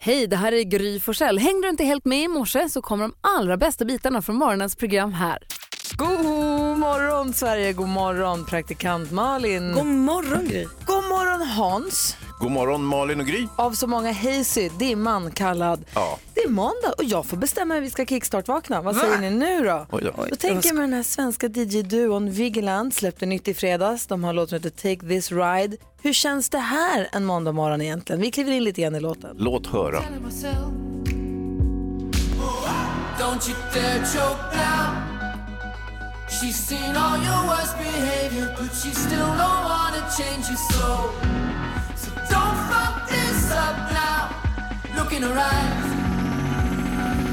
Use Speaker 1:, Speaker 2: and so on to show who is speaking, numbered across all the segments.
Speaker 1: Hej, det här är Gry Forssell. Hängde du inte helt med i morse så kommer de allra bästa bitarna från morgonens program här.
Speaker 2: God morgon Sverige, god morgon praktikant Malin.
Speaker 3: God morgon Gry.
Speaker 2: God morgon Hans.
Speaker 4: God morgon Malin och Gry.
Speaker 2: Av så många Hazy, dimman kallad.
Speaker 4: Ja.
Speaker 2: Det är måndag och jag får bestämma hur vi ska kickstart-vakna. Vad säger ni nu då?
Speaker 4: Oj då.
Speaker 2: Då tänker jag med den här svenska DJ-duon Vigeland släppte nytt i fredags. De har låten som heter Take This Ride. Hur känns det här en måndag morgon egentligen? Vi kliver in lite grann i låten.
Speaker 4: Låt höra.
Speaker 5: Don't you dare choke now. She's seen all your worst behavior, but she still don't wanna change you so. So don't fuck this up now. Look in her eyes.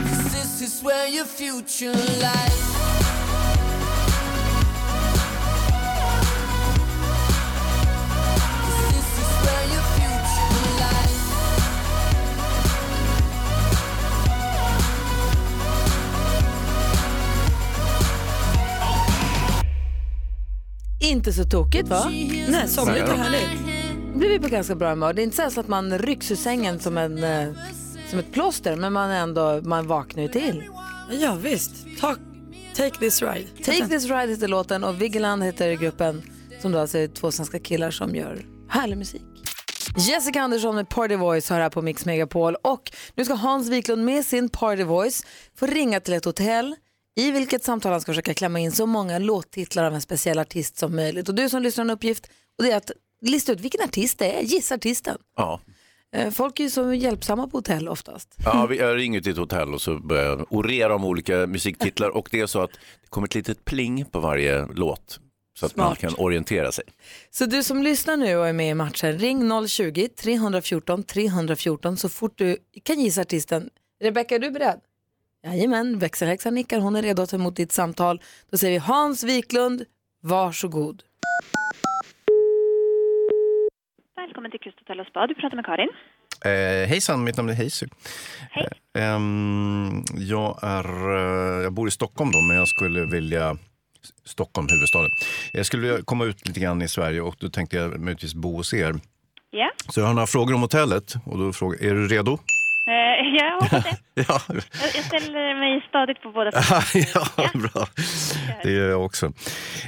Speaker 5: 'Cause this is where your future lies. This is where your future lies.
Speaker 2: Inte så tokigt va?
Speaker 3: Nej, somrigt och härligt.
Speaker 2: Då blir vi på ganska bra humör. Det är inte så här så att man rycks ur sängen som, en, eh, som ett plåster, men man, är ändå, man vaknar ju till.
Speaker 3: Ja visst. Ta, take this ride.
Speaker 2: Take this ride heter låten och Vigeland heter gruppen som då alltså är två svenska killar som gör härlig musik. Jessica Andersson med Party Voice har här på Mix Megapol och nu ska Hans Wiklund med sin Party Voice få ringa till ett hotell i vilket samtal han ska försöka klämma in så många låttitlar av en speciell artist som möjligt. Och du som lyssnar har en uppgift och det är att lista ut vilken artist det är, gissa artisten.
Speaker 4: Ja.
Speaker 2: Eh, Folk är ju så hjälpsamma på hotell oftast.
Speaker 4: Ja, vi- jag ringer till ett hotell och så börjar jag orera om olika musiktitlar och det är så att det kommer ett litet pling på varje låt så att man
Speaker 3: Smart.
Speaker 4: kan orientera sig.
Speaker 2: Så du som lyssnar nu och är med i matchen, ring 020-314 314 så fort du kan gissa artisten. Rebecka, är du beredd? Jajamän, växelhäxan nickar, hon är redo att ta emot ditt samtal. Då säger vi Hans Wiklund, varsågod.
Speaker 6: Välkommen till Kust Hotel och Spa. Du pratar med Karin.
Speaker 7: Eh, hejsan, mitt namn är Hazy.
Speaker 6: Hej.
Speaker 7: Eh, ehm, jag, är, eh, jag bor i Stockholm då, men jag skulle vilja... Stockholm, huvudstaden. Jag skulle vilja komma ut lite grann i Sverige och då tänkte jag möjligtvis bo hos er.
Speaker 6: Ja,
Speaker 7: Så jag har några frågor om hotellet och då frågar är du redo?
Speaker 6: eh, jag hoppas det.
Speaker 7: Ja,
Speaker 6: Jag, jag ställer mig stadigt på båda sidor.
Speaker 7: ja bra. Det gör jag också.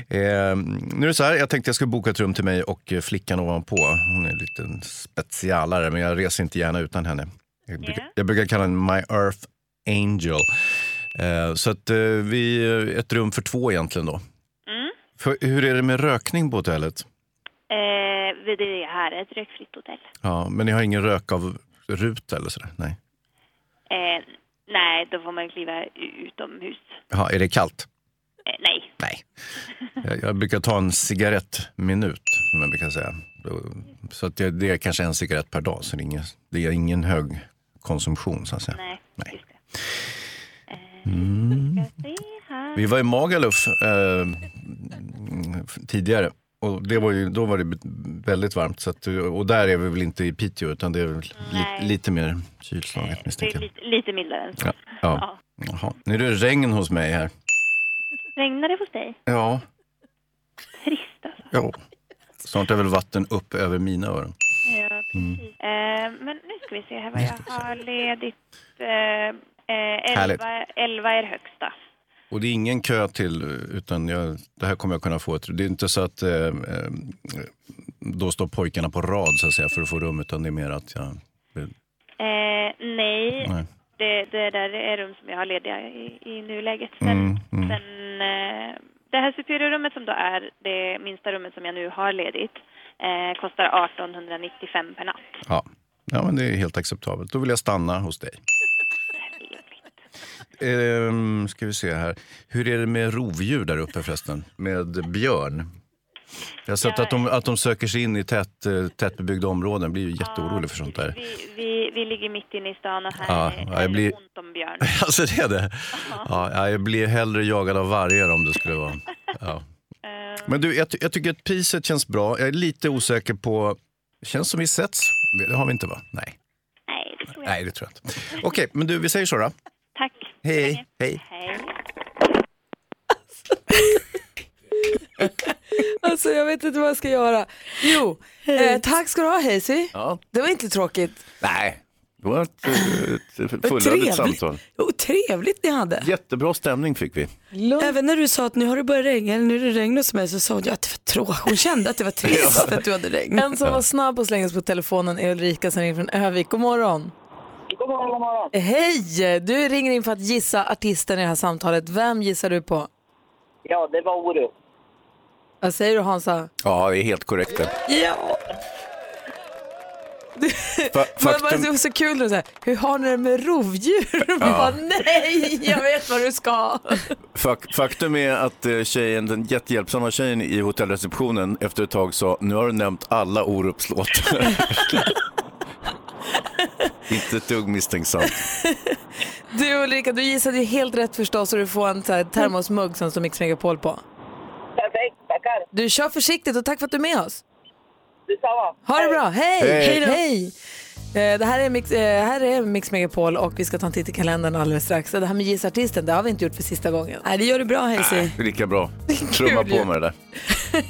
Speaker 7: Ehm, nu är det så här, jag tänkte jag skulle boka ett rum till mig och eh, flickan ovanpå. Hon är en liten specialare, men jag reser inte gärna utan henne. Jag brukar,
Speaker 6: Ja.
Speaker 7: jag brukar kalla henne My Earth Angel. Eh, så att eh, vi, eh, ett rum för två egentligen då.
Speaker 6: Mm.
Speaker 7: För, hur är det med rökning på hotellet?
Speaker 6: Eh, vi- det här är ett rökfritt hotell.
Speaker 7: Ja, men ni har ingen rök av ruta eller sådär? Nej.
Speaker 6: Eh, nej, då får man kliva u- utomhus.
Speaker 7: Jaha, är det kallt?
Speaker 6: Eh, nej.
Speaker 7: Nej. Jag, jag brukar ta en cigarettminut, som jag brukar säga. Då- Så att det, det är kanske en cigarett per dag, så det är ingen, det är ingen hög konsumtion. Så att säga.
Speaker 6: Nej,
Speaker 7: Nej. Mm.
Speaker 6: just det. Eh, ska se här.
Speaker 7: Vi var i Magaluf eh, mm, tidigare. Och det var ju, då var det bet- väldigt varmt. Så att, och där är vi väl inte i Piteå, utan det är väl li,
Speaker 6: Nej.
Speaker 7: lite mer kylslaget
Speaker 6: Det är
Speaker 7: misstänker jag.
Speaker 6: lite, lite mildare än så.
Speaker 7: Ja. Ja. Jaha. Nu är det regn hos mig här.
Speaker 6: Regnar det hos dig?
Speaker 7: Ja.
Speaker 6: Trist alltså.
Speaker 7: ja. Snart är väl vatten upp över mina öron. Mm.
Speaker 6: Ja, precis. Eh, men nu ska vi se här vad Mm. jag har ledigt. Eh, eh,
Speaker 7: Härligt.
Speaker 6: 11, 11 är högsta.
Speaker 7: Och det är ingen kö till, utan jag, det här kommer jag kunna få. Ett, det är inte så att eh, eh, då står pojkarna på rad så att säga, för att få rum, utan det är mer att jag...
Speaker 6: Eh, nej,
Speaker 7: Nej.
Speaker 6: Det, det där är rum som jag har lediga i, i nuläget. Sen,
Speaker 7: Mm, mm.
Speaker 6: sen, eh, det här superiorrummet som då är det minsta rummet som jag nu har ledigt eh, kostar 1895 per natt.
Speaker 7: Ja. ja, men det är helt acceptabelt. Då vill jag stanna hos dig. Ehm, ska vi se här. Hur är det med rovdjur där uppe förresten? Med björn? Jag har sett att de, att de söker sig in i tätt, eh, tättbebyggda områden. blir ju jätteorolig för sånt där.
Speaker 6: Vi, vi, vi ligger mitt inne i stan och här
Speaker 7: Ja,
Speaker 6: är-
Speaker 7: ja,
Speaker 6: här är
Speaker 7: jag blir-
Speaker 6: det ont om björn.
Speaker 7: Alltså det är det? Ja, ja, jag blir hellre jagad av vargar om det skulle vara. Ja.
Speaker 6: Ehm.
Speaker 7: Men du, jag, ty- jag tycker att priset känns bra. Jag är lite osäker på... Känns som vi setts. Det har vi inte va? Nej,
Speaker 6: Nej, det tror jag
Speaker 7: Nej det tror jag inte. Okej, men du, vi säger så då.
Speaker 6: Tack.
Speaker 7: Hej, hej.
Speaker 6: Hej.
Speaker 2: Alltså jag vet inte vad jag ska göra. Jo, eh, tack ska du ha Hazy.
Speaker 4: Ja.
Speaker 2: Det var inte tråkigt.
Speaker 4: Nej,
Speaker 7: Det var ett, eh, ett fullödigt
Speaker 3: trevligt.
Speaker 7: samtal.
Speaker 3: Jo, trevligt ni hade.
Speaker 7: Jättebra stämning fick vi.
Speaker 3: Även när du sa att nu har det börjat regna, eller nu är det regn hos mig, så sa hon att det var tråkigt. Hon kände att det var trist att du hade regn.
Speaker 2: En som var snabb och slänga sig på telefonen är Ulrika som ringer från Övik. God morgon.
Speaker 8: God morgon, god morgon.
Speaker 2: Hej! Du ringer in för att gissa artisten i det här samtalet. Vem gissar du på?
Speaker 8: Ja, det var Orup.
Speaker 2: Vad säger du Hansa?
Speaker 7: Ja, det är helt korrekt. det.
Speaker 3: Ja.
Speaker 7: Fa-
Speaker 2: Men bara, det
Speaker 7: faktum,
Speaker 2: var så kul när du sa, hur har ni det med rovdjur? Ja. Bara, Nej, jag vet vad du ska.
Speaker 7: fak, faktum är att eh, tjejen, den jättehjälpsamma tjejen i hotellreceptionen efter ett tag sa nu har du nämnt alla Orups låtar. Inte ett dugg misstänksamt.
Speaker 2: Du Ulrika, du gissade ju helt rätt förstås och du får en så här, termosmugg som står Mix Megapol på.
Speaker 8: Perfekt, tackar.
Speaker 2: Du kör försiktigt och tack för att du är med oss.
Speaker 8: Detsamma.
Speaker 2: Ha det bra, hej!
Speaker 7: Hej.
Speaker 2: då. Hej. Eh, Det här är, Mix, eh, här är Mix Megapol och vi ska ta en titt i kalendern alldeles strax. Och Det här med Gissa Artisten, det har vi inte gjort för sista gången.
Speaker 3: Nej, det gör du bra Hayesy.
Speaker 7: Äh, Det är Lika bra. Trumma
Speaker 2: Kul ju.
Speaker 7: på med det där.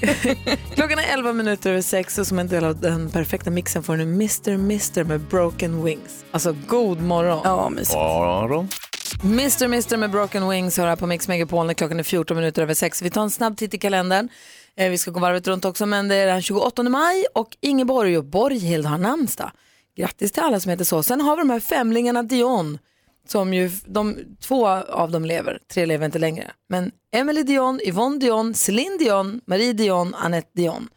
Speaker 2: Klockan är 11 minuter över 6 och som en del av den perfekta mixen får du nu Mr. Mr. med Broken Wings. Alltså god morgon.
Speaker 3: Ja, mysigt.
Speaker 7: Aron.
Speaker 2: Mr. Mr. med Broken Wings hör här på Mix Megapol när klockan är 14 minuter över 6. Vi tar en snabb titt i kalendern. Eh, Vi ska gå varvet runt också, men det är den 28 maj och Ingeborg och Borghild har namnsdag. Grattis till alla som heter så. Sen har vi de här femlingarna Dion, som ju, de, två av dem lever, tre lever inte längre. Men Emily Dion, Yvonne Dion, Céline Dion, Marie Dion, Annette Dion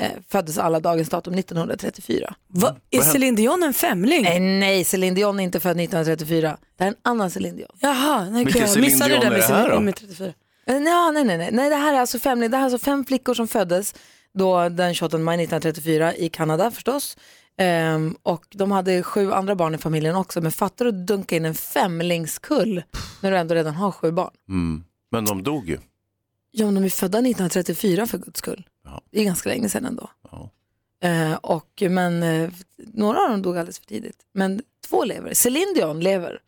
Speaker 2: eh, föddes alla dagens datum 1934.
Speaker 3: Va?
Speaker 7: Mm.
Speaker 3: Är Céline Dion en femling?
Speaker 2: Nej, Eh, nej, Céline Dion är inte född 1934. Det här är en annan Céline Dion.
Speaker 3: Jaha, nej,
Speaker 7: Vilken
Speaker 3: gud, jag
Speaker 7: Céline
Speaker 3: missade
Speaker 7: Dion
Speaker 3: det
Speaker 7: är
Speaker 3: där med
Speaker 7: det här
Speaker 3: Céline-
Speaker 7: då?
Speaker 3: med 34.
Speaker 2: Eh, Nej, nej, nej, nej. nej det, här är alltså fem, det här är alltså fem flickor som föddes då den 28 maj 1934 i Kanada förstås. Ehm, och de hade sju andra barn i familjen också. Men fattar du att dunka in en femlingskull när du ändå redan har sju barn?
Speaker 7: Mm. Men de dog ju.
Speaker 2: Ja, men de är födda 1934 för guds skull.
Speaker 7: Ja.
Speaker 2: Det är ganska länge sedan ändå.
Speaker 7: Ja.
Speaker 2: Eh, och, men eh, några av dem dog alldeles för tidigt. Men två lever. Céline Dion lever.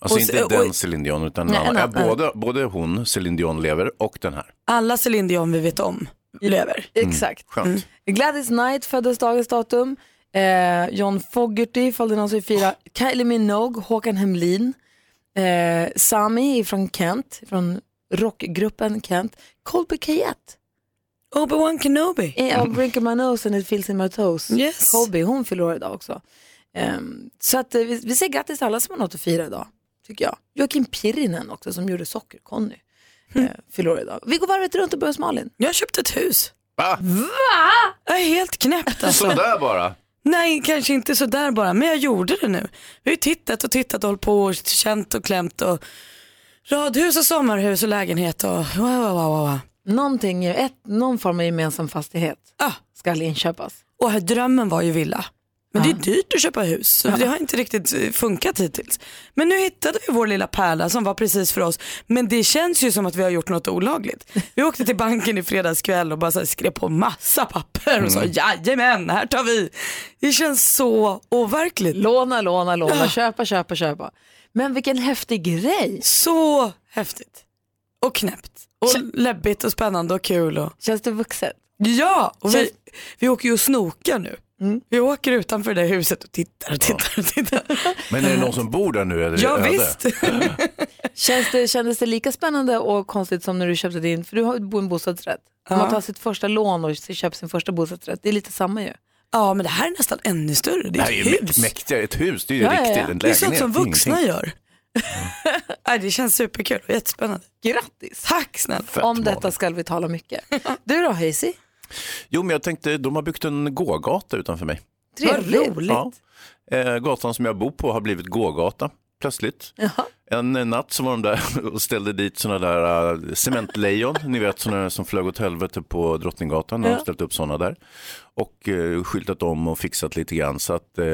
Speaker 7: Alltså
Speaker 3: Och
Speaker 7: inte
Speaker 3: så-
Speaker 7: den
Speaker 3: och-
Speaker 7: Céline Dion, utan
Speaker 2: Nej,
Speaker 7: en
Speaker 2: en
Speaker 7: annan.
Speaker 2: annan.
Speaker 7: Både, både hon, Céline Dion, lever och den här. Mm.
Speaker 3: Alla Céline Dion vi vet om lever. Mm.
Speaker 2: Exakt.
Speaker 7: Skönt.
Speaker 2: Gladys Knight föddes dagens datum. Eh, John Fogerty, ifall det är någon som vill fira. Kylie Minogue, Håkan Hemlin. Eh, Sami från Kent, från rockgruppen Kent. Colby Kayette,
Speaker 3: Obi-Wan Kenobi.
Speaker 2: eh, av Brink of My Nose and It Feels In My Toes.
Speaker 3: Yes.
Speaker 2: Colby, hon fyller år idag också. Ehm, så att, eh, vi, vi säger grattis till alla som har något att fira idag, tycker jag. Joakim Pirinen också, som gjorde Socker-Conny,
Speaker 3: Hm.
Speaker 2: eh, fyller år idag. Vi går varvet runt och börjar hos Malin.
Speaker 3: Jag har köpt ett hus.
Speaker 7: Va?
Speaker 3: Jag är helt knäppt alltså.
Speaker 7: Sådär bara.
Speaker 3: Nej, kanske inte sådär bara, men jag gjorde det nu. Vi har ju tittat och tittat och hållit på och känt och klämt och radhus och sommarhus och lägenhet och wow, wow, wow, wow.
Speaker 2: Någonting, ett, någon form av gemensam fastighet
Speaker 3: Ah,
Speaker 2: ska inköpas.
Speaker 3: och här, drömmen var ju villa. Men det är dyrt att köpa hus, så det har inte riktigt eh, funkat hittills. Men nu hittade vi vår lilla pärla som var precis för oss. Men det känns ju som att vi har gjort något olagligt. Vi åkte till banken i fredags kväll och bara så här skrev på massa papper och sa
Speaker 2: Mm.
Speaker 3: jajamän, här tar vi. Det känns så overkligt.
Speaker 2: Låna, låna, låna, köpa, köpa, köpa. Men vilken häftig grej.
Speaker 3: Så häftigt. Och knäppt. Och läbbigt och spännande och kul. Och...
Speaker 2: Känns det vuxet?
Speaker 3: Ja, och vi,
Speaker 2: Känns-
Speaker 3: vi åker ju och snokar nu.
Speaker 2: Mm.
Speaker 3: Vi åker utanför det där huset och tittar och tittar och tittar.
Speaker 7: Men är det någon som bor där nu? Eller är det
Speaker 3: Ja
Speaker 7: öde?
Speaker 3: visst.
Speaker 2: Känns det, kändes det lika spännande och konstigt som när du köpte din, för du har ju bo- en bostadsrätt. Om Man tar sitt första lån och köper sin första bostadsrätt. Det är lite samma ju.
Speaker 3: Ja men det här är nästan ännu större. Det
Speaker 7: Det
Speaker 3: är
Speaker 7: här är
Speaker 3: ett
Speaker 7: ju
Speaker 3: hus.
Speaker 7: mä- mäktigare. Ett hus, det är ju
Speaker 2: Ja, ja,
Speaker 7: riktigt.
Speaker 2: ja.
Speaker 7: En lägenhet.
Speaker 3: Det är sånt som
Speaker 7: ingenting.
Speaker 3: vuxna gör. Nej, det känns superkul och jättespännande.
Speaker 2: Grattis!
Speaker 3: Tack snälla.
Speaker 7: Fett
Speaker 2: Om
Speaker 7: bra.
Speaker 2: detta ska vi tala mycket. Du då Hayesy?
Speaker 7: Jo, men jag tänkte, de har byggt en gågata utanför mig.
Speaker 2: Trevligt.
Speaker 7: Ja. Eh, gatan som jag bor på har blivit gågata plötsligt. En eh, natt så var de där och ställde dit sådana där eh, cementlejon, ni vet sådana som flög åt helvete på Drottninggatan, när de ställt upp sådana där. Och eh, skyltat om och fixat lite grann så att, eh,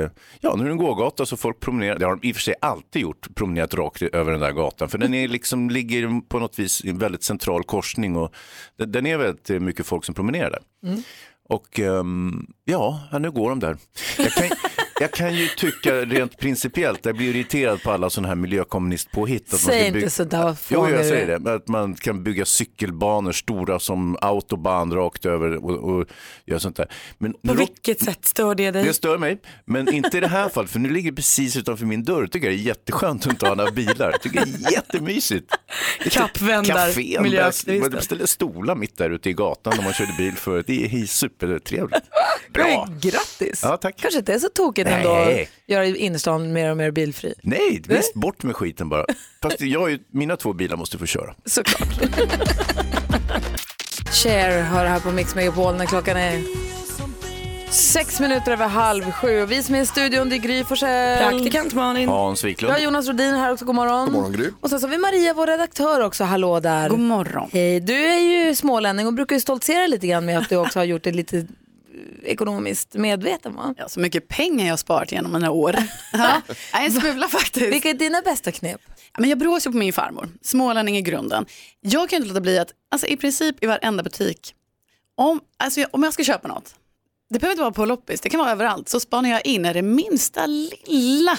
Speaker 7: ja nu är det en gågata så folk promenerar, det har de i och för sig alltid gjort, promenerat rakt i- över den där gatan. För den är liksom, ligger på något vis i en väldigt central korsning och den- den är väldigt eh, mycket folk som promenerar där. Och ehm, ja, ja, nu går de där. Jag kan, jag kan ju tycka rent principiellt, jag blir irriterad på alla sådana här miljökommunistpåhitt. att man
Speaker 2: Säg
Speaker 7: ska
Speaker 2: inte
Speaker 7: bygga-
Speaker 2: sådär, vad fan
Speaker 7: Jo,
Speaker 2: är
Speaker 7: jag
Speaker 2: det?
Speaker 7: säger det. Att man kan bygga cykelbanor stora som autobahn rakt över och, och göra sånt där. Men nu
Speaker 3: På
Speaker 7: råk-
Speaker 3: vilket sätt stör det dig?
Speaker 7: det stör mig, men inte i det här fallet, för nu ligger det precis utanför min dörr. tycker jag det är jätteskönt att inte ha några bilar. tycker det är jättemysigt.
Speaker 3: Kappvändar,
Speaker 7: Cafén,
Speaker 3: miljöaktivister.
Speaker 7: man beställde stolar mitt där ute i gatan när man körde bil förut. Det är supertrevligt. Bra!
Speaker 2: Men Grattis!
Speaker 7: Ja, tack.
Speaker 2: Kanske inte är så tokigt ändå
Speaker 7: Nej.
Speaker 2: att göra innerstan mer och mer bilfri.
Speaker 7: Nej, visst bort med skiten bara. Fast jag, har ju- mina två bilar måste få köra.
Speaker 2: Såklart. Cher hör här på Mix Megapol när klockan är sex minuter över halv sju. Och Vi som är i studion, det är Gry Forssell.
Speaker 3: Praktikant Malin.
Speaker 7: Hans
Speaker 2: Vi har
Speaker 7: Wiklund.
Speaker 2: Jonas Rodin här också, god morgon. God morgon Gry. Och sen så har vi Maria, vår redaktör också, hallå där.
Speaker 9: God morgon.
Speaker 2: Hej, du är ju smålänning och brukar ju stoltsera lite grann med att du också har gjort det lite eh, ekonomiskt medveten va?
Speaker 9: Ja, så mycket pengar jag har sparat genom mina år. Ja, en smula faktiskt.
Speaker 2: Vilka är dina bästa knep?
Speaker 9: Ja, Men jag brås ju på min farmor, smålänning i grunden. Jag kan ju inte låta bli att, alltså i princip i varenda butik, om, alltså, jag- om jag ska köpa något, det behöver inte vara på loppis, det kan vara överallt, så spanar jag in är det minsta lilla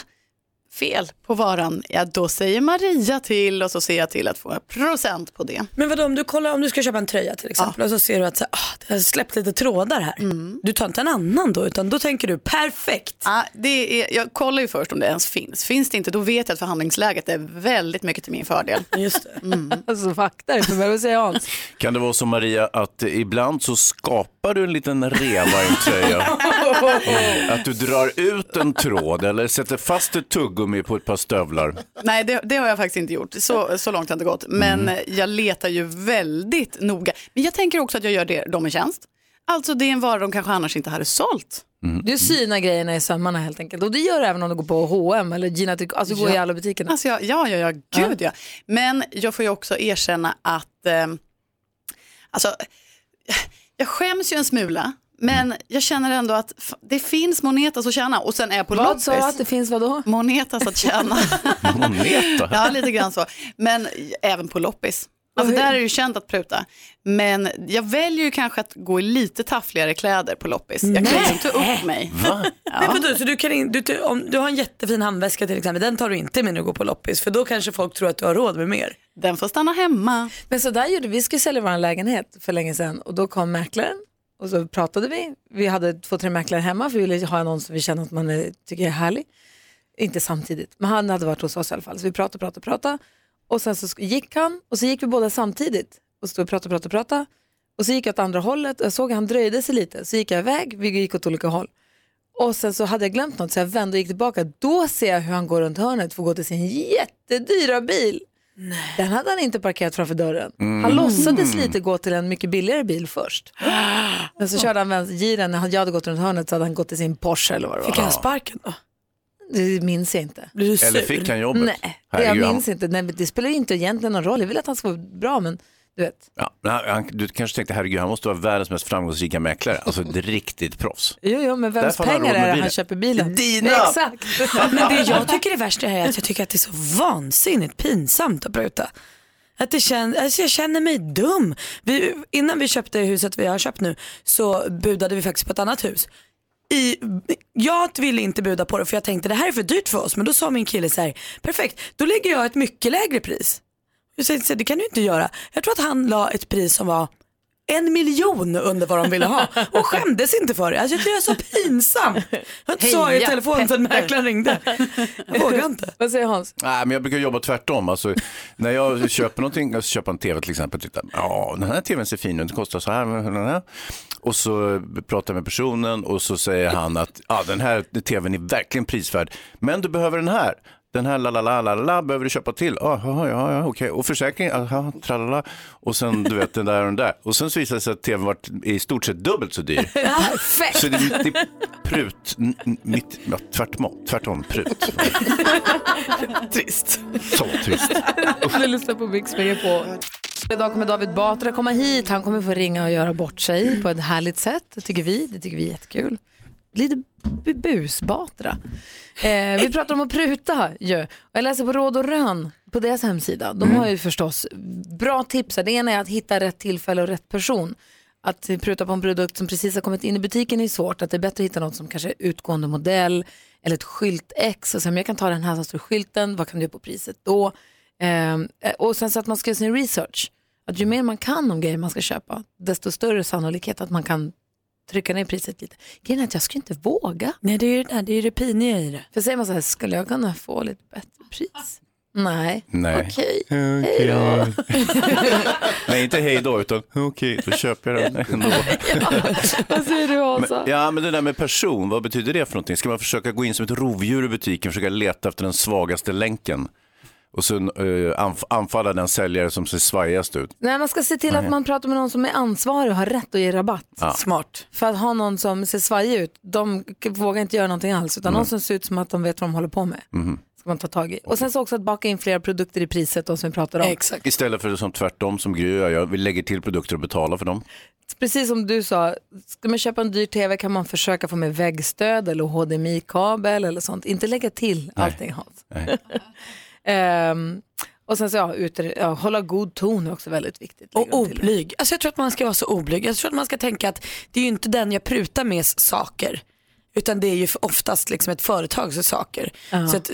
Speaker 9: fel på varan, ja då säger Maria till och så ser jag till att få procent på det.
Speaker 3: Men vadå om du kollar om du ska köpa en tröja till exempel och så ser du att så, här, ah, det har släppt lite trådar här.
Speaker 9: Mm.
Speaker 3: Du tar inte en annan då utan då tänker du perfekt.
Speaker 9: Ja, det är, jag kollar ju först om det ens finns, finns det inte då vet jag att förhandlingsläget är väldigt mycket till min fördel. Mm.
Speaker 3: Just det.
Speaker 2: Alltså fakta är det för mig, vad säger Hans?
Speaker 7: Kan det vara så Maria att eh, ibland så skapar du en liten reva i en tröja? Och Att du drar ut en tråd eller sätter fast ett tuggummi på ett par stövlar.
Speaker 9: Nej, det, det har jag faktiskt inte gjort. Så, så långt har det inte gått. Men jag letar ju väldigt noga. Men jag tänker också att jag gör det, dem en tjänst. Alltså det är en vara de kanske annars inte hade sålt.
Speaker 2: Du synar grejerna i sömmarna helt enkelt. Och det gör du även om du går på H&M eller Gina Tricot, alltså går i alla butikerna.
Speaker 9: Alltså jag, ja, ja, ja, gud ja. Men jag får ju också erkänna att, eh, alltså, jag skäms ju en smula. Men
Speaker 2: Mm.
Speaker 9: jag känner ändå att f- det finns monetas att tjäna och sen är jag på
Speaker 2: Vad sa du att
Speaker 9: loppis.
Speaker 2: det finns vadå?
Speaker 9: Monetas att tjäna.
Speaker 7: Moneta.
Speaker 9: Ja, lite grann så. Men även på loppis. Alltså där är det ju känt att pruta. Men jag väljer ju kanske att gå i lite taffligare kläder på loppis. Jag kan liksom ta upp mig.
Speaker 3: Men vadå, så du, kan in, du, om du har en jättefin handväska till exempel, den tar du inte med när du går på loppis för då kanske folk tror att du har råd med mer.
Speaker 9: Den får stanna hemma.
Speaker 2: Men så där gjorde vi, vi skulle sälja vår lägenhet för länge sedan och då kom mäklaren och så pratade vi. Vi hade två, tre mäklare hemma för vi ville ha någon som vi känner att man eh, tycker är härlig. Inte samtidigt, men han hade varit hos oss i alla fall. Så vi pratade, pratade, pratade och sen så sk- gick han och så gick vi båda samtidigt och stod och pratade, pratade, pratade. Och så gick jag åt andra hållet och jag såg att han dröjde sig lite. Så gick jag iväg, vi gick åt olika håll. Och sen så hade jag glömt något så jag vände och gick tillbaka. Då ser jag hur han går runt hörnet för att gå till sin jättedyra bil. Den hade han inte parkerat framför dörren. Han låtsades lite gå till en mycket billigare bil först. Men så körde han vänstergiren, när jag hade gått runt hörnet så hade han gått till sin Porsche eller vad det
Speaker 3: Fick
Speaker 7: Ja.
Speaker 3: jag sparken då?
Speaker 2: var. Det minns jag inte.
Speaker 3: Blir du sur?
Speaker 7: Eller fick han jobbet?
Speaker 2: Nej, det jag
Speaker 7: Herregud, han-
Speaker 2: minns inte. Nej, men det spelar ju inte egentligen någon roll. Jag vill att han ska vara bra, men du vet.
Speaker 7: Ja, men han, han, du kanske tänkte, herregud, han måste vara världens mest framgångsrika mäklare. Alltså ett riktigt proffs.
Speaker 2: Jo, jo, men vems
Speaker 7: Därför har han
Speaker 2: pengar
Speaker 7: råd med
Speaker 2: är det han
Speaker 7: bilen.
Speaker 2: köper bilen?
Speaker 7: Dina!
Speaker 2: Exakt!
Speaker 3: Men det jag tycker är värst det här är att jag tycker att det är så vansinnigt pinsamt att pruta. Att det kän, alltså jag känner mig dum. Vi, innan vi köpte huset vi har köpt nu så budade vi faktiskt på ett annat hus. I, jag ville inte buda på det för jag tänkte det här är för dyrt för oss men då sa min kille så här, perfekt då lägger jag ett mycket lägre pris. Jag säger, så här, det kan du inte göra. Jag tror att han la ett pris som var en miljon under vad de ville ha och skämdes inte för det. Alltså jag tycker det är så pinsamt. Jag har inte svarat i
Speaker 2: Heja,
Speaker 3: telefon sedan mäklaren ringde. Jag vågar inte.
Speaker 2: Vad säger Hans?
Speaker 7: Nej, men jag brukar jobba tvärtom. Alltså, när jag köper någonting, jag köper en tv till exempel, tittar, ja den här tvn ser fin ut, den kostar så här, men den här. Och så pratar jag med personen och så säger han att ja, den här tvn är verkligen prisvärd, men du behöver den här. Den här la la la la la behöver du köpa till. Ah, ja, ja, ja, okej. Och försäkring, aha, tralala. Och sen du vet den där och den där. Och sen så visade det sig att tvn var i stort sett dubbelt så dyr.
Speaker 2: Perfekt!
Speaker 7: Så det är mitt i prut, n- n- mitt, ja, tvärtom, tvärtom prut.
Speaker 9: Trist.
Speaker 7: Så trist.
Speaker 2: Du lyssnar på Mix på. Idag kommer David Batra komma hit. Han kommer få ringa och göra bort sig på ett härligt sätt. Det tycker vi. Det tycker vi är jättekul. Lite bu- bus-Batra. Eh, vi pratar om att pruta ju. Och Jag läser på Råd och Rön på deras Mm. hemsida. De har ju förstås bra tips. här. Det ena är att hitta rätt tillfälle och rätt person. Att pruta på en produkt som precis har kommit in i butiken är svårt. Att det är bättre att hitta något som kanske är utgående modell eller ett skyltex. Och sen, men jag kan ta den här som står i skylten, vad kan du göra på priset då? Ehm, och sen så att man ska göra sin research. Att ju mer man kan om grejer man ska köpa, desto större sannolikhet att man kan trycka ner priset lite. Grejen är att jag skulle inte våga.
Speaker 3: Nej, det är ju det, där, det, är ju det piniga i det.
Speaker 2: För säger man så här, skulle jag kunna få lite bättre pris? Nej,
Speaker 7: Nej.
Speaker 2: okej.
Speaker 7: Hej då. Nej, inte hej då, utan okej, då köper jag den ändå.
Speaker 2: Vad säger du Åsa?
Speaker 7: Ja, men det där med person, vad betyder det för någonting? Ska man försöka gå in som ett rovdjur i butiken, försöka leta efter den svagaste länken och sen eh, anf- anfalla den säljare som ser svajigast ut?
Speaker 2: Nej, man ska se till att man pratar med någon som är ansvarig och har rätt att ge rabatt.
Speaker 3: Smart.
Speaker 2: För att ha någon som ser svajig ut, de k- vågar inte göra någonting alls, utan någon som ser ut som att de vet vad de håller på med.
Speaker 7: Mhm.
Speaker 2: Ska man ta tag i. Och sen så också att baka in flera produkter i priset då, som vi pratade om.
Speaker 3: Exakt.
Speaker 7: Istället för som tvärtom som Gry och jag gör, vi lägger till produkter och betalar för dem.
Speaker 2: Precis som du sa, ska man köpa en dyr tv kan man försöka få med väggstöd eller HDMI-kabel eller sånt. Inte lägga till allting Hans.
Speaker 7: Nej.
Speaker 2: Ehm, och sen så ja, utre- ja, hålla god ton är också väldigt viktigt.
Speaker 3: Och
Speaker 2: lägger de till.
Speaker 3: oblyg. Alltså jag tror att man ska vara så oblyg. Jag tror att man ska tänka att det är ju inte den jag prutar med saker. Utan det är ju oftast liksom ett företags saker. Så att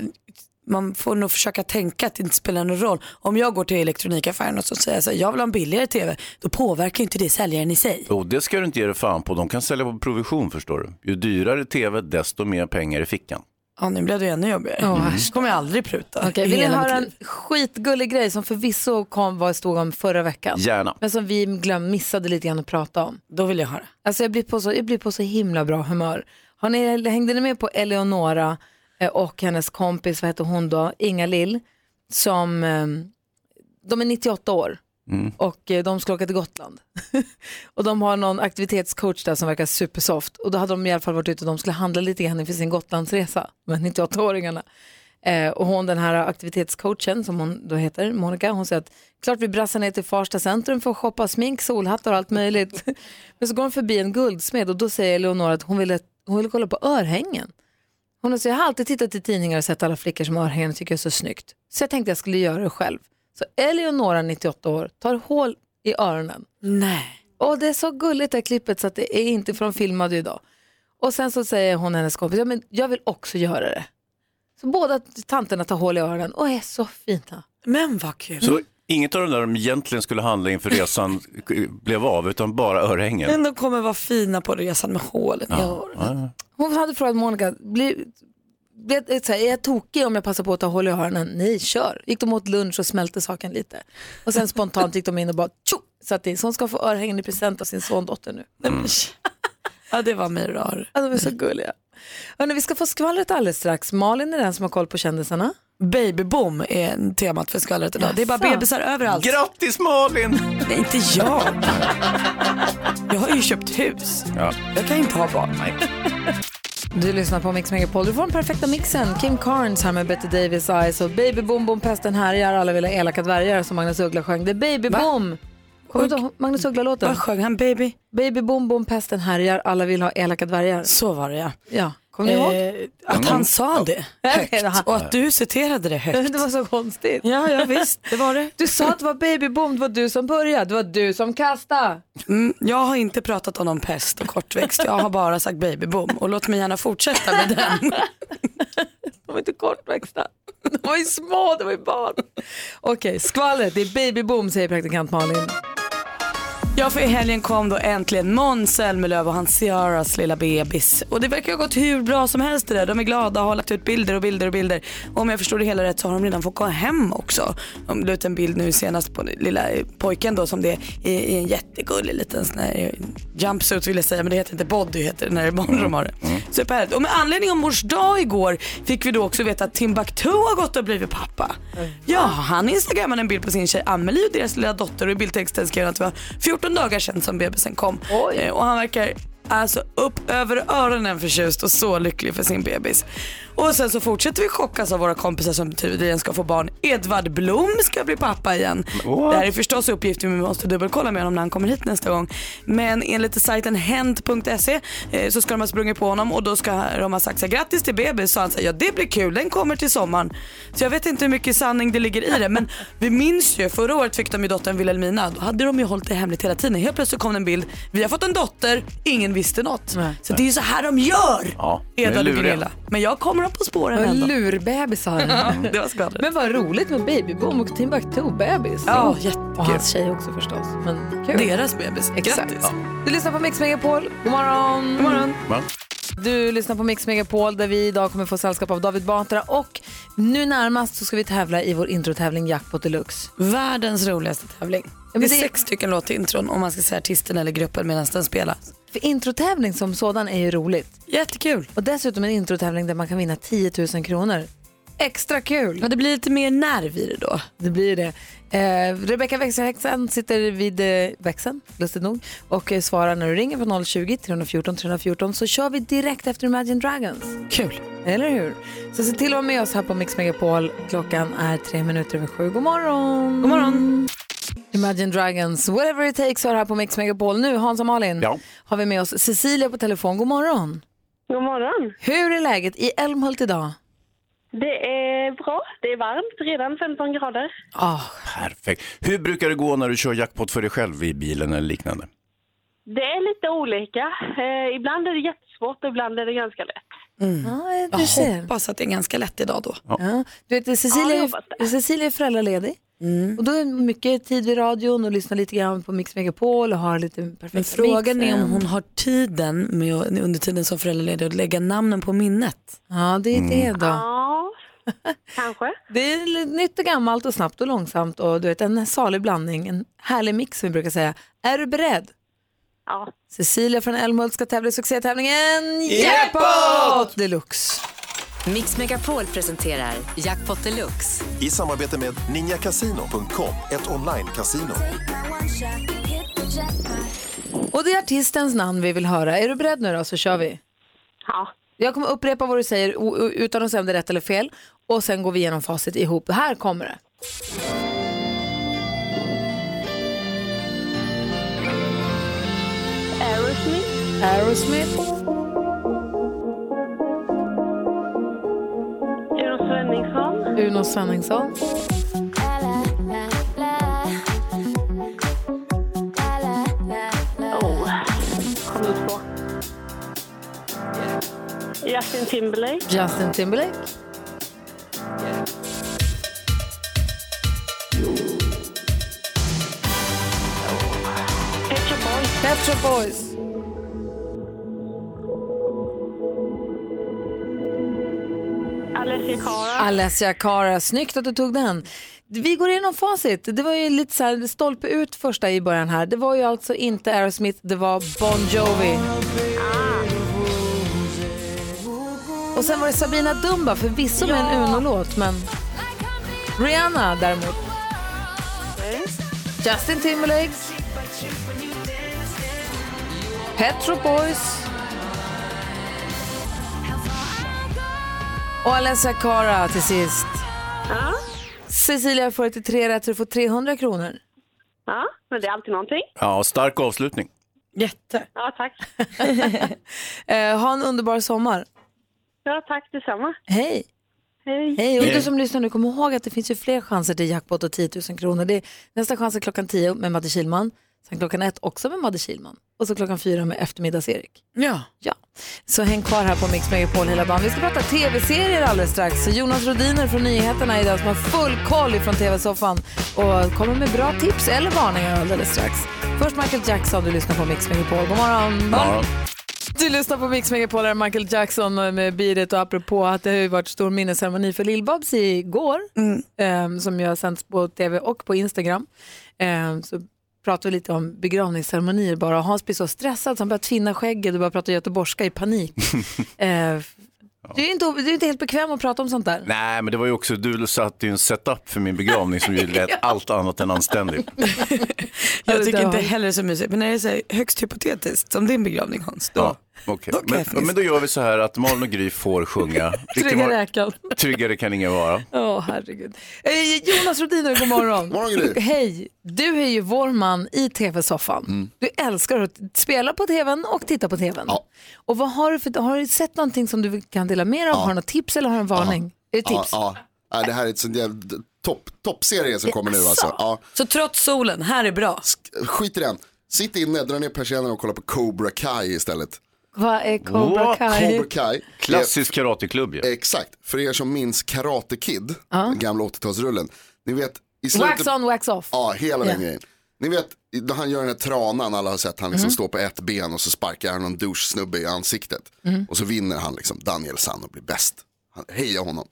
Speaker 3: man får nog försöka tänka att det inte spelar någon roll. Om jag går till elektronikaffären och så säger jag att jag vill ha en billigare tv, då påverkar ju inte det säljaren i sig.
Speaker 7: Och det ska du inte ge dig fan på, de kan sälja på provision förstår du. Ju dyrare tv, desto mer pengar i fickan.
Speaker 3: Ja, nu blev det ju ännu jobbigare. Mm. kommer jag aldrig pruta.
Speaker 2: Okej,
Speaker 3: i
Speaker 2: vill ni
Speaker 3: hela
Speaker 2: höra
Speaker 3: mitt
Speaker 2: en
Speaker 3: liv.
Speaker 2: skitgullig grej som förvisso kom, var stod om förra veckan?
Speaker 7: Gärna.
Speaker 2: Men som vi glöm, missade lite grann att prata om.
Speaker 3: Då vill jag höra.
Speaker 2: Alltså jag blir på så, jag blir på så himla bra humör. Har ni, hängde ni med på Eleonora eh, och hennes kompis, vad heter hon då, Inga Lill som, eh, de är 98 år och eh, de ska åka till Gotland. och de har någon aktivitetscoach där som verkar supersoft och då hade de i alla fall varit ute och de skulle handla lite grann inför sin Gotlandsresa, de här 98-åringarna. Eh, och hon, den här aktivitetscoachen som hon då heter, Monica, hon säger att klart vi brassar ner till Farsta centrum för att shoppa smink, solhattar och allt möjligt. Men så går hon förbi en guldsmed och då säger Leonora att hon ville, hon ville kolla på örhängen. Hon säger, jag har alltid tittat i tidningar och sett alla flickor som har örhängen och tycker det är så snyggt. Så jag tänkte jag skulle göra det själv. Så Eleonora, 98 år, tar hål i öronen.
Speaker 3: Nej.
Speaker 2: Och det är så gulligt det här klippet så att det är inte från filmade idag. Och sen så säger hon hennes kompis, ja, men jag vill också göra det. Så båda tanterna tar hål i öronen och är så fina.
Speaker 3: Men vad kul.
Speaker 7: Så inget av de där de egentligen skulle handla inför resan blev av, utan bara örhängen.
Speaker 3: Men de kommer vara fina på resan med hålen i öronen.
Speaker 7: Ja, ja.
Speaker 2: Hon hade frågat Monica, blir, blir, jag- så här, är jag tokig om jag passar på att ta hål i öronen? Nej, kör. Gick de åt lunch och smälte saken lite. Och sen spontant gick de in och bara tjo! Satt in. Så hon ska få örhängen i present av sin sondotter nu.
Speaker 3: Nej,
Speaker 7: Mm.
Speaker 3: men- Ja, det var Mirar.
Speaker 2: Ja, de är så gulliga. Hörrni, vi ska få skvallret alldeles strax. Malin är den som har koll på kändisarna.
Speaker 3: Babyboom är en temat för skvallret idag. Det är bara bebisar överallt.
Speaker 7: Grattis Malin!
Speaker 3: Nej, inte jag. Jag har ju köpt hus.
Speaker 7: Ja.
Speaker 3: Jag kan inte ha barn.
Speaker 2: Du lyssnar på Mix Megapol. Du får den perfekta mixen. Kim Carnes här med Betty Davis Eyes och Baby Boom Boom Pesten härjar. Alla vill ha elaka dvärgar som Magnus Uggla sjöng. Det är Baby Boom! Kommer du inte ihåg Magnus Uggla-låten?
Speaker 3: Vad sjöng han baby?
Speaker 2: Baby boom boom pesten härjar, alla vill ha elaka dvärgar.
Speaker 3: Så var det ja.
Speaker 2: Ja, kommer ni ihåg?
Speaker 3: Eh, att han sa det högt och att du citerade det högt.
Speaker 2: Det var så konstigt.
Speaker 3: Ja, ja visst, det var det.
Speaker 2: Du sa att det var baby boom, det var du som började, det var du som kastade.
Speaker 3: Mm, jag har inte pratat om någon pest och kortväxt. Jag har bara sagt babyboom och låt mig gärna fortsätta med den.
Speaker 2: De var inte kortväxta, de var ju små, de var ju barn. Okej, skvallret, det är baby boom säger praktikant Malin.
Speaker 3: Ja, för i helgen kom då äntligen Måns Zelmerlöw och hans Ciaras lilla bebis. Och det verkar ha gått hur bra som helst det där. De är glada och har lagt ut bilder och bilder och bilder. Och om jag förstod det hela rätt så har de redan fått gå hem också. De la ut en bild nu senast på den lilla eh, pojken då som det är i, i en jättegullig liten sån här eh, jumpsuit vill jag säga, men det heter inte body heter det när det är barn som har det. Superhärligt. Och med anledning av mors dag igår fick vi då också veta att Timbuktu har gått och blivit pappa. Ja, han instagrammade en bild på sin tjej Amelie och deras lilla dotter och i bildtexten skrev han att det var 14 dagar sedan som bebisen kom. Eh, Och han verkar är så upp över öronen förtjust och så lycklig för sin bebis. Och sen så fortsätter vi chockas av våra kompisar som tydligen ska få barn. Edvard Blom ska bli pappa igen.
Speaker 5: What?
Speaker 3: Det här är förstås uppgifter vi måste dubbelkolla med honom när han kommer hit nästa gång. Men enligt sajten hent.se eh, så ska de ha sprungit på honom och då ska de ha sagt så här, grattis till bebis. Så han säger ja det blir kul, den kommer till sommaren. Så jag vet inte hur mycket sanning det ligger i det men vi minns ju förra året fick de ju dottern Wilhelmina. Då hade de ju hållit det hemligt hela tiden. Helt plötsligt kom det en bild, vi har fått en dotter, ingen visste något. Så det är ju så här de gör.
Speaker 7: Ja, de är
Speaker 3: Edvard och
Speaker 7: luriga.
Speaker 3: Gunilla. Men jag kommer dem på spåren
Speaker 2: Vad
Speaker 3: ändå.
Speaker 2: Lurbebisar.
Speaker 3: det var skvallret.
Speaker 2: Men vad roligt med Babyboom och Timbuktu-bebis.
Speaker 3: Ja, jättekul.
Speaker 2: Mm. Och hans tjej också förstås. Men kul.
Speaker 3: Deras bebis.
Speaker 2: Exakt.
Speaker 3: Grattis.
Speaker 2: Du lyssnar på Mix Megapol. God morgon. God morgon.
Speaker 7: Va?
Speaker 2: Du lyssnar på Mix Megapol där vi idag kommer få sällskap av David Batra och nu närmast så ska vi tävla i vår introtävling Jackpot Deluxe.
Speaker 3: Världens roligaste tävling.
Speaker 2: men
Speaker 3: det är
Speaker 2: det-
Speaker 3: sex stycken låtintron om man ska säga artisten eller gruppen medan den spelas.
Speaker 2: För introtävling som sådan är ju roligt.
Speaker 3: Jättekul.
Speaker 2: Och dessutom en introtävling där man kan vinna 10 000 kronor. Extra kul.
Speaker 3: Ja, det blir lite mer nerv i det då.
Speaker 2: Det blir det. Eh, Rebecka växelhäxan sitter vid eh, växeln, lustigt nog, och eh, svarar när du ringer på 020-314 314 så kör vi direkt efter Imagine Dragons.
Speaker 3: Kul.
Speaker 2: Eller hur? Så se till att vara med oss här på Mix Megapol. Klockan är tre minuter över sju. God morgon!
Speaker 3: God morgon.
Speaker 2: Imagine Dragons, whatever it takes, hör här på Mix Megapol. Nu, Hans och Malin,
Speaker 7: Ja.
Speaker 2: har vi med oss Cecilia på telefon. God morgon!
Speaker 10: God morgon.
Speaker 2: Hur är läget i Älmhult idag?
Speaker 10: Det är bra. Det är varmt, redan 15 grader.
Speaker 2: Ah,
Speaker 7: Perfekt. Hur brukar det gå när du kör jackpot för dig själv i bilen eller liknande?
Speaker 10: Det är lite olika. Eh, ibland är det jättesvårt och ibland är det ganska lätt.
Speaker 2: ja,
Speaker 3: Jag
Speaker 2: du ser.
Speaker 3: hoppas att det är ganska lätt idag Mm. då.
Speaker 2: Ja. Du vet,
Speaker 10: Ja, jag
Speaker 2: Cecilia,
Speaker 10: hoppas
Speaker 2: är, Cecilia är föräldraledig. Och då är det mycket tid vid radion och lyssnar lite grann på Mix Megapol och har lite perfekt
Speaker 3: Men frågan är om hon har tiden med, att- under tiden som föräldraledig att lägga namnen på minnet.
Speaker 2: Ja, det är det då.
Speaker 10: Ja, kanske.
Speaker 2: Det är li- nytt och gammalt och snabbt och långsamt och du vet, en salig blandning, en härlig mix som vi brukar säga. Är du beredd?
Speaker 10: Ja.
Speaker 2: Cecilia från Älmhult ska tävla i succétävlingen Jackpot Deluxe.
Speaker 11: Mix Megapol presenterar Jackpot Deluxe.
Speaker 12: I samarbete med ninjakasino.com, ett online-casino.
Speaker 2: Och det är artistens namn vi vill höra. Är du beredd nu då så kör vi.
Speaker 10: Ja.
Speaker 2: Jag kommer upprepa vad du säger o- o- utan att säga om det är rätt eller fel och sen går vi igenom facit ihop. Här kommer det.
Speaker 10: Aerosmith.
Speaker 2: Aerosmith,
Speaker 10: Uno Svenningsson.
Speaker 2: Uno Svenningsson,
Speaker 10: Oh. Kom inte på. Justin Timberlake.
Speaker 2: Justin Timberlake,
Speaker 10: Pet Shop Boys.
Speaker 2: Pet Shop Boys.
Speaker 10: Alessia Cara.
Speaker 2: Alessia Cara, snyggt att du tog den. Vi går igenom facit. Det var ju lite så här stolpe ut första i början här. Det var ju alltså inte Aerosmith, det var Bon Jovi.
Speaker 10: Ah.
Speaker 2: Och sen var det Sabina Dumba, förvisso med en Uno-låt, men Rihanna däremot. Justin Timberlake. Pet Shop Boys. Och Alessia Cara till sist.
Speaker 10: Ja.
Speaker 2: Cecilia får ett tre rätt så du får 300 kronor.
Speaker 10: ja, men det är alltid någonting.
Speaker 7: Ja, stark avslutning.
Speaker 3: Jätte.
Speaker 10: Ja, tack.
Speaker 2: Eh, ha en underbar sommar.
Speaker 10: Ja, tack detsamma.
Speaker 2: Hej!
Speaker 10: Hej.
Speaker 2: Hej! Och du
Speaker 7: Hej.
Speaker 2: som lyssnar nu, kom ihåg att det finns ju fler chanser till jackpot och 10 000 kronor. Det är nästa chans är klockan 10 med Madde Kilman, sen klockan 1 också med Madde Kilman och så klockan 4 med Eftermiddags-Erik.
Speaker 3: Ja.
Speaker 2: Ja, så häng kvar här på Mix Megapol hela dagen. Vi ska prata tv-serier alldeles strax. Så Jonas Rodiner från Nyheterna är den som har full koll från tv-soffan och kommer med bra tips eller varningar alldeles strax. Först Michael Jackson, du lyssnar på Mix Megapol. God morgon!
Speaker 7: Ja.
Speaker 2: Du lyssnar på Mix Megapol, här är Michael Jackson med Beat It. och apropå att det har ju varit stor minnesceremoni för Lill-Babs igår ehm, som ju har sänts på tv och på Instagram. Ehm, så pratar vi lite om begravningsceremonier bara och Hans blir så stressad så han börjar tvinna skägget och börjar prata göteborgska i panik. Ehm, Du är, inte, du är inte helt bekväm att prata om sånt där.
Speaker 7: Nej, men det var ju också, du satte ju en setup för min begravning som ju lät allt annat än anständig.
Speaker 3: Jag tycker inte heller det är så mysigt. Men när det är så här högst hypotetiskt, som din begravning Hans, då.
Speaker 7: Ja, okej. Men, men då gör vi så här att Malin och Gry får sjunga. Vilken
Speaker 2: Trygga
Speaker 7: var-
Speaker 2: räkan.
Speaker 7: Tryggare kan ingen vara.
Speaker 2: Åh, herregud. Eh, Jonas Rhodiner, god morgon.
Speaker 7: Morgon, Gry.
Speaker 2: Hej, du är ju vår man i tv-soffan.
Speaker 13: Mm.
Speaker 2: Du älskar att spela på tvn och titta på tvn. Och vad har, du för, har du sett någonting som du kan dela med dig av?
Speaker 13: Ja.
Speaker 2: Har du något tips eller har du en varning? Är det tips?
Speaker 13: Ja, ja. Nej, det här är ett sånt jävla topp, toppserie som kommer nu alltså. Ja.
Speaker 3: Så trots solen, här är bra.
Speaker 13: Skit i den. Sitt inne, dra ner persiennerna och kolla på Cobra Kai istället.
Speaker 2: Vad är Cobra Kai?
Speaker 13: Cobra Kai.
Speaker 7: Klassisk karateklubb ju.
Speaker 13: Exakt, för er som minns Karate Kid,
Speaker 2: Ja.
Speaker 13: den gamla 80-talsrullen. Ni vet, i slutet...
Speaker 2: Wax on, wax off.
Speaker 13: Ja, hela
Speaker 2: Ja.
Speaker 13: den grejen. Ni vet, då han gör den här tranan, alla har sett, han liksom
Speaker 5: Mm.
Speaker 2: Mhm.
Speaker 13: står på ett ben och så sparkar han någon douche-snubbe i ansiktet.
Speaker 2: Mm.
Speaker 13: Och så vinner han liksom, Daniel San och blir bäst. Han hejar honom.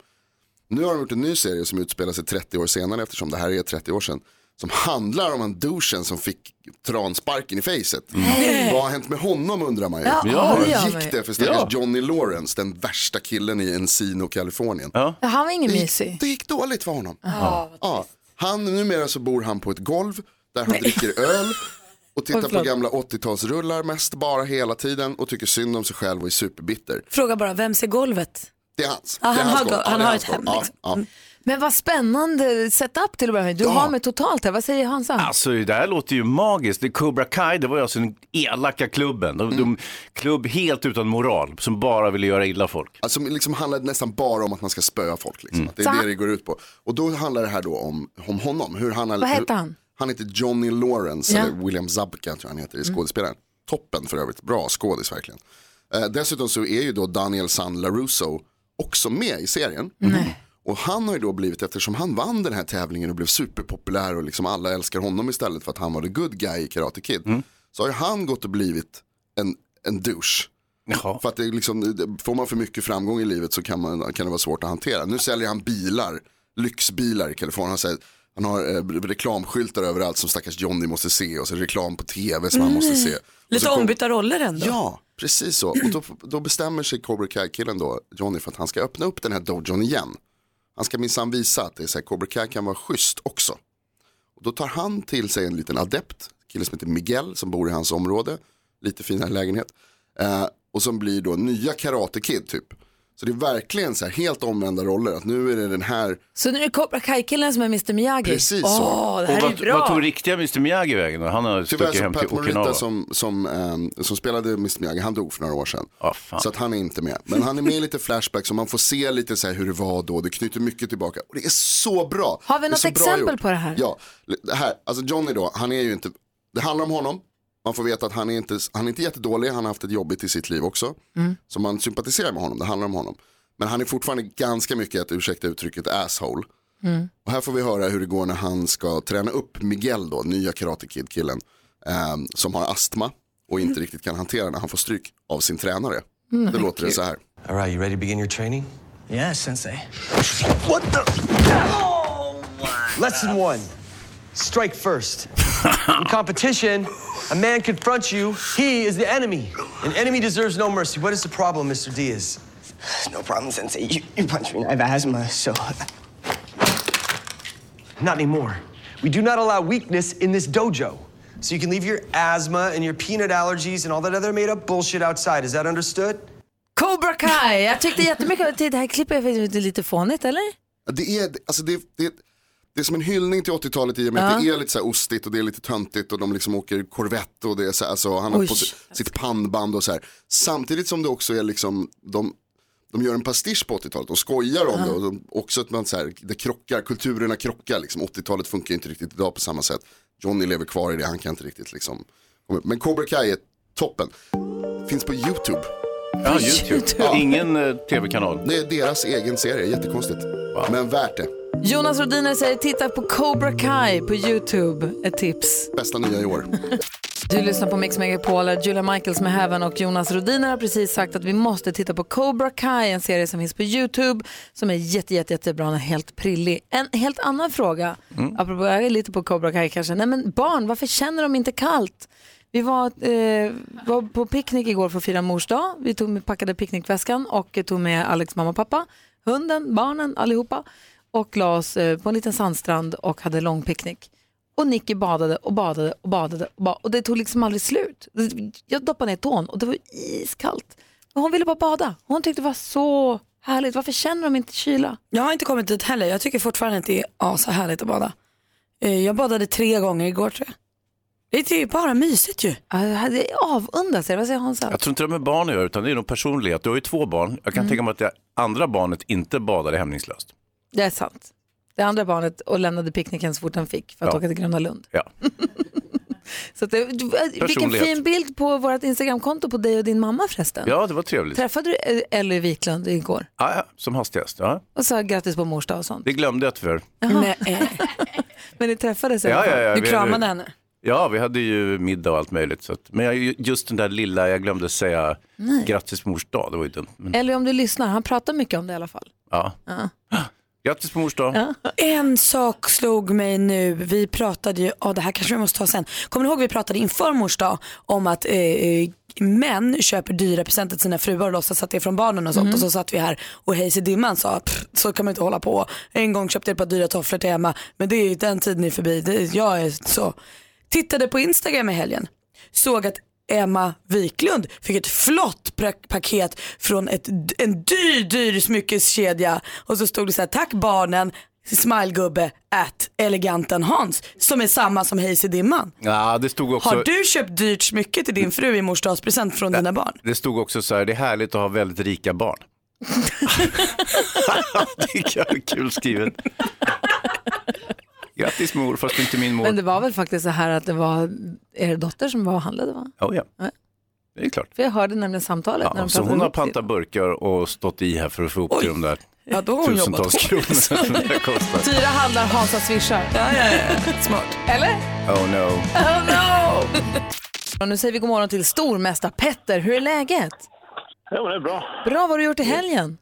Speaker 13: Nu har de gjort en ny serie som utspelar sig 30 år senare eftersom det här är 30 år sedan. Som handlar om en douchen som fick transparken i facet. Mm.
Speaker 5: Nej.
Speaker 13: Vad har hänt med honom undrar man ju.
Speaker 5: Ja, Ja. det gör man ju.
Speaker 13: Hur gick det för stackars
Speaker 5: Ja.
Speaker 13: Johnny Lawrence, den värsta killen i Encino, Kalifornien?
Speaker 2: Ja, Han var ingen
Speaker 13: Det gick-
Speaker 2: mysig.
Speaker 13: Det gick dåligt för honom.
Speaker 2: Ja.
Speaker 13: Ja, han, numera så bor han på ett golv där han dricker öl och
Speaker 2: Oj,
Speaker 13: tittar på
Speaker 2: förlåt.
Speaker 13: gamla 80-talsrullar mest bara hela tiden och tycker synd om sig själv och är superbitter.
Speaker 3: Fråga bara, vem ser golvet?
Speaker 13: Det är hans.
Speaker 3: Ja,
Speaker 13: det är
Speaker 3: han
Speaker 13: hans
Speaker 3: har
Speaker 13: golv.
Speaker 3: go-
Speaker 13: Ja,
Speaker 3: han
Speaker 13: det är
Speaker 3: har
Speaker 13: hans
Speaker 3: ett
Speaker 13: golv.
Speaker 3: hem,
Speaker 13: Ja,
Speaker 3: liksom.
Speaker 13: ja.
Speaker 2: Men vad spännande setup till att börja med. Du har mig totalt här. Vad säger Hansa?
Speaker 7: Alltså det här låter ju magiskt. Det Cobra Kai, det var ju alltså den elaka klubben. De,
Speaker 13: Mm.
Speaker 7: de, klubb helt utan moral, som bara ville göra illa folk.
Speaker 13: Alltså liksom handlar det nästan bara om att man ska spöa folk. Liksom. Att det
Speaker 2: Så
Speaker 13: är
Speaker 2: han-
Speaker 13: det det går ut på. Och då handlar det här då om, om honom. Hur han, har-
Speaker 2: Vad heter
Speaker 13: hur-
Speaker 2: han?
Speaker 13: Han heter Johnny Lawrence,
Speaker 2: Ja. Mm.
Speaker 13: eller William Zabka tror jag han heter, i skådespelaren. Toppen för övrigt, bra skådis verkligen. Eh, dessutom så är ju då Daniel San LaRusso också med i serien. Mm. Och han har ju då blivit, eftersom han vann den här tävlingen och blev superpopulär och liksom alla älskar honom istället för att han var the good guy i Karate Kid.
Speaker 2: Mm.
Speaker 13: Så har ju han gått och blivit en, en douche. För att det är liksom, det- får man för mycket framgång i livet så kan, man, kan det vara svårt att hantera. Nu säljer han bilar, lyxbilar i Kalifornien. Han, säger, han har eh, reklamskyltar överallt som stackars Johnny måste se och så reklam på tv som han måste se. Och
Speaker 3: Mm. Lite
Speaker 13: så kom-
Speaker 3: ombytta roller ändå.
Speaker 13: Ja, precis så. Och då, då bestämmer sig Cobra Kai-killen då, Johnny, för att han ska öppna upp den här dojon igen. Han ska minsann visa att det är så här, Cobra Kai kan vara schysst också. Och då tar han till sig en liten adept, en kille som heter Miguel, som bor i hans område, lite finare lägenhet. Eh, och som blir då nya Karate Kid typ. Så det är verkligen så här helt omvända roller, att nu är det den här
Speaker 2: Så nu är det Cobra Kai-killen som är Mr Miyagi?
Speaker 13: Precis
Speaker 2: Åh,
Speaker 13: så.
Speaker 2: det här
Speaker 7: och
Speaker 2: är
Speaker 7: vad,
Speaker 2: bra.
Speaker 7: vad tog riktiga Mr Miyagi vägen? då? Han har
Speaker 13: Tyvärr
Speaker 7: stuckit
Speaker 13: så
Speaker 7: hem till
Speaker 13: Pat Morita
Speaker 7: Okinawa.
Speaker 13: som, som, ehm, som spelade Mr Miyagi, han dog för några år sedan. så att han är inte med. Men han är med i lite flashbacks och man får se lite så här hur det var då. Det knyter mycket tillbaka. Och det är så bra.
Speaker 2: Har vi
Speaker 13: Det är
Speaker 2: något
Speaker 13: så bra
Speaker 2: exempel
Speaker 13: gjort.
Speaker 2: på det här?
Speaker 13: Ja, det här, alltså Johnny då, han är ju inte, det handlar om honom. Man får veta att han är inte, han är inte jättedålig, han har haft ett jobbigt i sitt liv också. Så man sympatiserar med honom, det handlar om honom. Men han är fortfarande ganska mycket, att ursäkta uttrycket, asshole. Och här får vi höra hur det går när han ska träna upp Miguel då, nya Karate Kid-killen. ehm, som har astma och inte riktigt kan hantera när han får stryk av sin tränare.
Speaker 14: Mm,
Speaker 13: det låter det
Speaker 14: gud.
Speaker 13: så här.
Speaker 14: All right, you ready to begin your training? Yeah, sensei.
Speaker 5: What the?
Speaker 14: Lesson one strike first. In competition, a man confronts you, he is the enemy. An enemy deserves no mercy. What is the problem, Mr. Diaz? No problem, sensei. You, you punch me. I have asthma, so. Not anymore. We do not allow weakness in this dojo. So you can leave your asthma and your peanut allergies and all that other made up bullshit outside. Is that understood?
Speaker 2: Cobra Kai! Jag tyckte jättemycket om det här klippet. Jag vet, Det är lite fånigt, eller?
Speaker 13: Ja, Det är, alltså det, det, det är som en hyllning till 80-talet i och med att
Speaker 2: Ja.
Speaker 13: det är lite så här ostigt och det är lite töntigt och de liksom åker Corvette och det är så här, alltså han har
Speaker 2: Oj.
Speaker 13: på si- sitt pannband och så här. Samtidigt som det också är liksom, de, de gör en pastisch på 80-talet, de skojar om
Speaker 2: Ja.
Speaker 13: det och de, också att man så här, det krockar, kulturerna krockar liksom. 80-talet funkar inte riktigt idag på samma sätt. Johnny lever kvar i det, han kan inte riktigt liksom. Men Cobra Kai är toppen. Finns på YouTube.
Speaker 7: Ja, YouTube.
Speaker 13: Ja.
Speaker 7: Ingen eh, tv-kanal.
Speaker 13: Det är deras egen serie, jättekonstigt. Men värt det.
Speaker 2: Jonas Rodiner säger titta på Cobra Kai på YouTube. Ett tips.
Speaker 13: Bästa nya i år.
Speaker 2: Du lyssnar på Mix Megapol, där Julia Michaels med Heaven och Jonas Rodiner har precis sagt att vi måste titta på Cobra Kai, en serie som finns på YouTube som är jätte, jätte, jättebra och helt prillig. En helt annan fråga,
Speaker 5: Mm.
Speaker 2: apropå jag är lite på Cobra Kai kanske, nej men barn, varför känner de inte kallt? Vi var, eh, var på picknick igår för att fira mors dag. Vi tog med, packade picknickväskan och eh, tog med Alex mamma och pappa, hunden, barnen, allihopa och la oss eh, på en liten sandstrand och hade lång picknick. Och Nicky badade och badade och badade och, ba- och det tog liksom aldrig slut. Jag doppade ner tån och det var iskallt. Men hon ville bara bada. Hon tyckte det var så härligt. Varför känner de inte kyla?
Speaker 3: Jag har inte kommit dit heller. Jag tycker fortfarande att det är ashärligt att bada. Eh, Jag badade tre gånger igår tror jag. Det är ju bara mysigt ju.
Speaker 2: Det avundas er. Vad säger Hansa?
Speaker 7: Jag tror inte det har med barn att göra, utan det är nog personlighet. Du har ju två barn. Jag kan
Speaker 2: Mm.
Speaker 7: tänka mig att det andra barnet inte badade hämningslöst.
Speaker 2: Det är sant. Det andra barnet och lämnade picknicken så fort han fick för att
Speaker 7: Ja.
Speaker 2: åka till Gröna Lund.
Speaker 7: Ja.
Speaker 2: Så att det, du, äh, vilken
Speaker 7: Personlighet.
Speaker 2: fin bild på vårt Instagramkonto på dig och din mamma förresten.
Speaker 7: ja, det var trevligt.
Speaker 2: Träffade du eh, Elly Wiklund igår
Speaker 7: Ja, ja, som hastigast. Ja.
Speaker 2: och sa grattis på mors dag och sånt?
Speaker 7: Det glömde jag tyvärr.
Speaker 2: Nej. Men ni träffades i alla
Speaker 7: Ja, ja,
Speaker 2: fall.
Speaker 7: ja, vi-
Speaker 2: henne?
Speaker 7: Ja, vi hade ju middag och allt möjligt. Så att, men jag, just den där lilla, jag glömde säga
Speaker 2: Nej.
Speaker 7: grattis på mors dag, det var ju dumt. Men,
Speaker 2: Elly om du lyssnar, han pratar mycket om det i alla fall.
Speaker 7: ja. Grattis på mors dag.
Speaker 3: En sak slog mig nu. Vi pratade ju, oh, det här kanske vi måste ta sen. Kommer ni ihåg vi pratade inför mors dag om att eh, eh, män köper dyra presenter till sina fruar och låtsas att det är från barnen och sånt.
Speaker 2: Mm.
Speaker 3: Och så satt vi här och Hayes i dimman sa "Pff, så kan man inte hålla på. En gång köpte jag ett par dyra tofflor till Emma men det är ju den tiden är förbi. Det, jag är så. Tittade på Instagram i helgen. Såg att Emma Wiklund fick ett flott pra- paket från ett, en dyr, dyr smyckeskedja och så stod det så här, tack barnen, smilegubbe at eleganten Hans som är samma som Hayes i dimman.
Speaker 7: Ja, det stod också...
Speaker 3: Har du köpt dyrt smycke till din fru i mors dagspresent från dina barn?
Speaker 7: Det stod också så här, det är härligt att ha väldigt rika barn. det är kul skrivet. Grattis mor, fast inte min mor.
Speaker 2: Men det var väl faktiskt så här att det var er dotter som var och handlade va?
Speaker 7: Oh, ja. Det är klart.
Speaker 2: För jag hörde nämligen samtalet när
Speaker 7: Ja,
Speaker 2: de
Speaker 7: så
Speaker 2: pratade
Speaker 7: hon har
Speaker 2: ihop sig.
Speaker 7: pantat burkar och stått i här för att få ihop till de där
Speaker 3: Ja, då har hon
Speaker 7: tusentals
Speaker 3: jobbat
Speaker 7: kronor som det kostar.
Speaker 2: Tyra handlar, Hansa swishar.
Speaker 3: Ja, ja, ja. Smart.
Speaker 2: Eller?
Speaker 7: Oh no.
Speaker 2: Oh no! och nu säger vi god morgon till stormästare Petter. Hur är läget?
Speaker 15: Ja, men det är bra.
Speaker 2: Bra, vad har du gjort i helgen?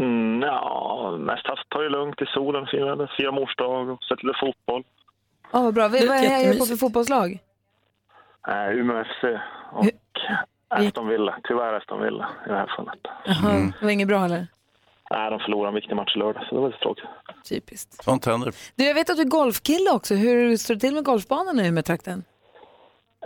Speaker 15: Mm, ja, mest haft ta det lugnt i solen, firade fira morsdag och sett lite fotboll.
Speaker 2: Ja, vad bra.
Speaker 15: Det
Speaker 2: Vi- Vad
Speaker 15: låter
Speaker 2: är jag på för
Speaker 15: jättemysigt.
Speaker 2: fotbollslag?
Speaker 7: Mm.
Speaker 15: Äh, Umeå FC och Aston Villa. Tyvärr Aston Villa i det här fallet.
Speaker 2: Jaha, det var inget bra eller?
Speaker 15: Nej, de förlorade en viktig match i lördag, så det var lite tråkigt.
Speaker 2: Typiskt.
Speaker 7: Sånt händer.
Speaker 2: Du, jag vet att du är golfkille också. Hur står det till med golfbanan nu med trakten?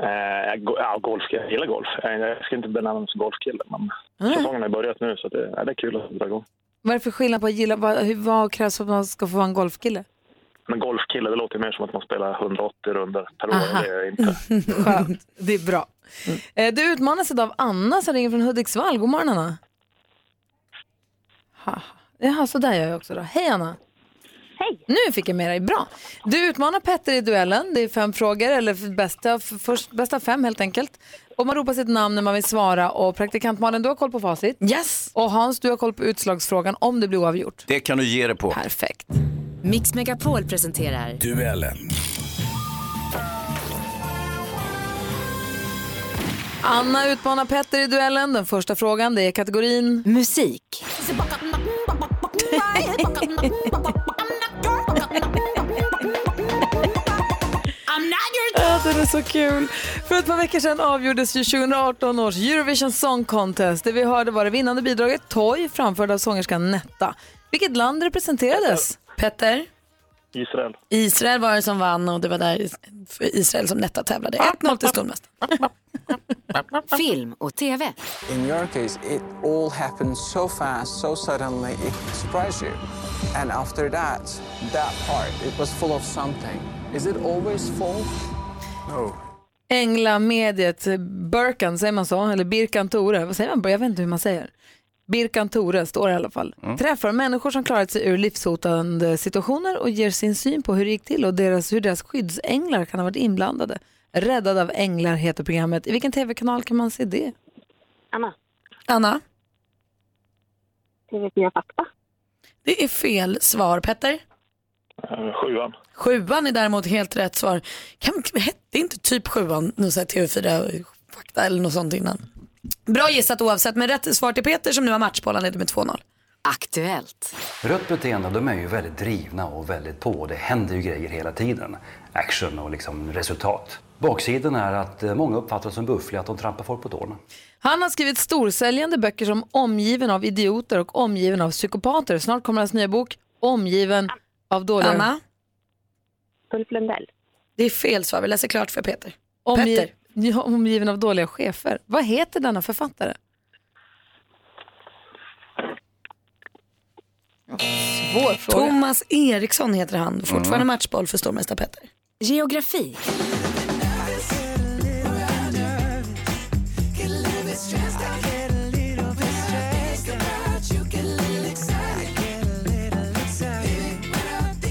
Speaker 15: Eh, jag go- ja, golf, jag gillar golf. Eh, Jag ska inte benämna mig som golfkille, men
Speaker 2: Mm.
Speaker 15: säsongen har ju börjat nu så det, ja, det är kul att dra igång.
Speaker 2: Vad är det för skillnad på att gilla, vad, hur- vad krävs för att man ska få vara en golfkille?
Speaker 15: Men golfkille, det låter ju mer som att man spelar 180 runder per år.
Speaker 2: Aha.
Speaker 15: Det är jag inte.
Speaker 2: Skönt, det är bra. Eh, Du utmanas idag av Anna som ringer från Hudiksvall. God morgon Anna. Ha. Jaha, så där gör jag också då. Hej Anna. Hej. Nu fick jag med dig, bra. Du utmanar Petter i duellen. Det är fem frågor, eller f- bästa, f- först, bästa fem helt enkelt. Och man ropar sitt namn när man vill svara. Och praktikant Malin, du har koll på facit.
Speaker 3: Yes.
Speaker 2: Och Hans, du har koll på utslagsfrågan om det blir oavgjort.
Speaker 7: Det kan du ge dig på.
Speaker 2: Perfekt.
Speaker 11: Mix Megapol presenterar
Speaker 7: Duellen.
Speaker 2: Anna utmanar Petter i duellen. Den första frågan, det är kategorin...
Speaker 11: Musik.
Speaker 2: Ja, den är så kul. För ett par veckor sedan avgjordes ju 2018 års Eurovision Song Contest. Det vi hörde var det vinnande bidraget Toy framförd av sångerskan Netta. Vilket land representerades?
Speaker 3: Petter?
Speaker 15: Israel.
Speaker 3: Israel var det som vann och det var där för Israel som Netta tävlade. 1-0 till skolmästaren.
Speaker 11: Film och TV.
Speaker 16: In your case, it all happened so fast, so suddenly, it surprised you. And after that, that part, it was full of something. Is it always full? No.
Speaker 2: Änglamediet Birkan, säger man så? Eller Birkan Tore? Vad säger man? Jag vet inte hur man säger. Birkan Tore står det i alla fall.
Speaker 1: Mm.
Speaker 2: Träffar människor som klarat sig ur livshotande situationer och ger sin syn på hur det gick till och deras, hur deras skyddsänglar kan ha varit inblandade. Räddad av änglar heter programmet. I vilken tv-kanal kan man se det?
Speaker 10: Anna,
Speaker 3: Anna?
Speaker 10: TV4 Fakta.
Speaker 3: Det är fel svar Petter.
Speaker 15: Eh, Sjuan.
Speaker 3: Sjuan är däremot helt rätt svar. Kan, hette inte typ sjuan någon sån här TV4 Fakta eller något sånt innan? Bra gissat oavsett men rätt svar till Peter som nu har matchbollen leder med 2-0.
Speaker 11: Aktuellt.
Speaker 17: Rött beteende, de är ju väldigt drivna och väldigt på. Det händer ju grejer hela tiden. Action och liksom resultat. Baksidan är att eh, många uppfattar som buffliga att de trampar folk på tårna.
Speaker 2: Han har skrivit storsäljande böcker som Omgiven av idioter och Omgiven av psykopater. Snart kommer hans nya bok Omgiven av dåliga...
Speaker 18: Anna?
Speaker 6: Ulf Lundell.
Speaker 18: Det är fel svar, vi läser klart för Peter.
Speaker 2: Omgi- Ja, omgiven av dåliga chefer. Vad heter denna författare? Svår fråga.
Speaker 18: Thomas Eriksson heter han, fortfarande
Speaker 2: Mm.
Speaker 18: matchboll för stormästare Petter.
Speaker 11: Geografi.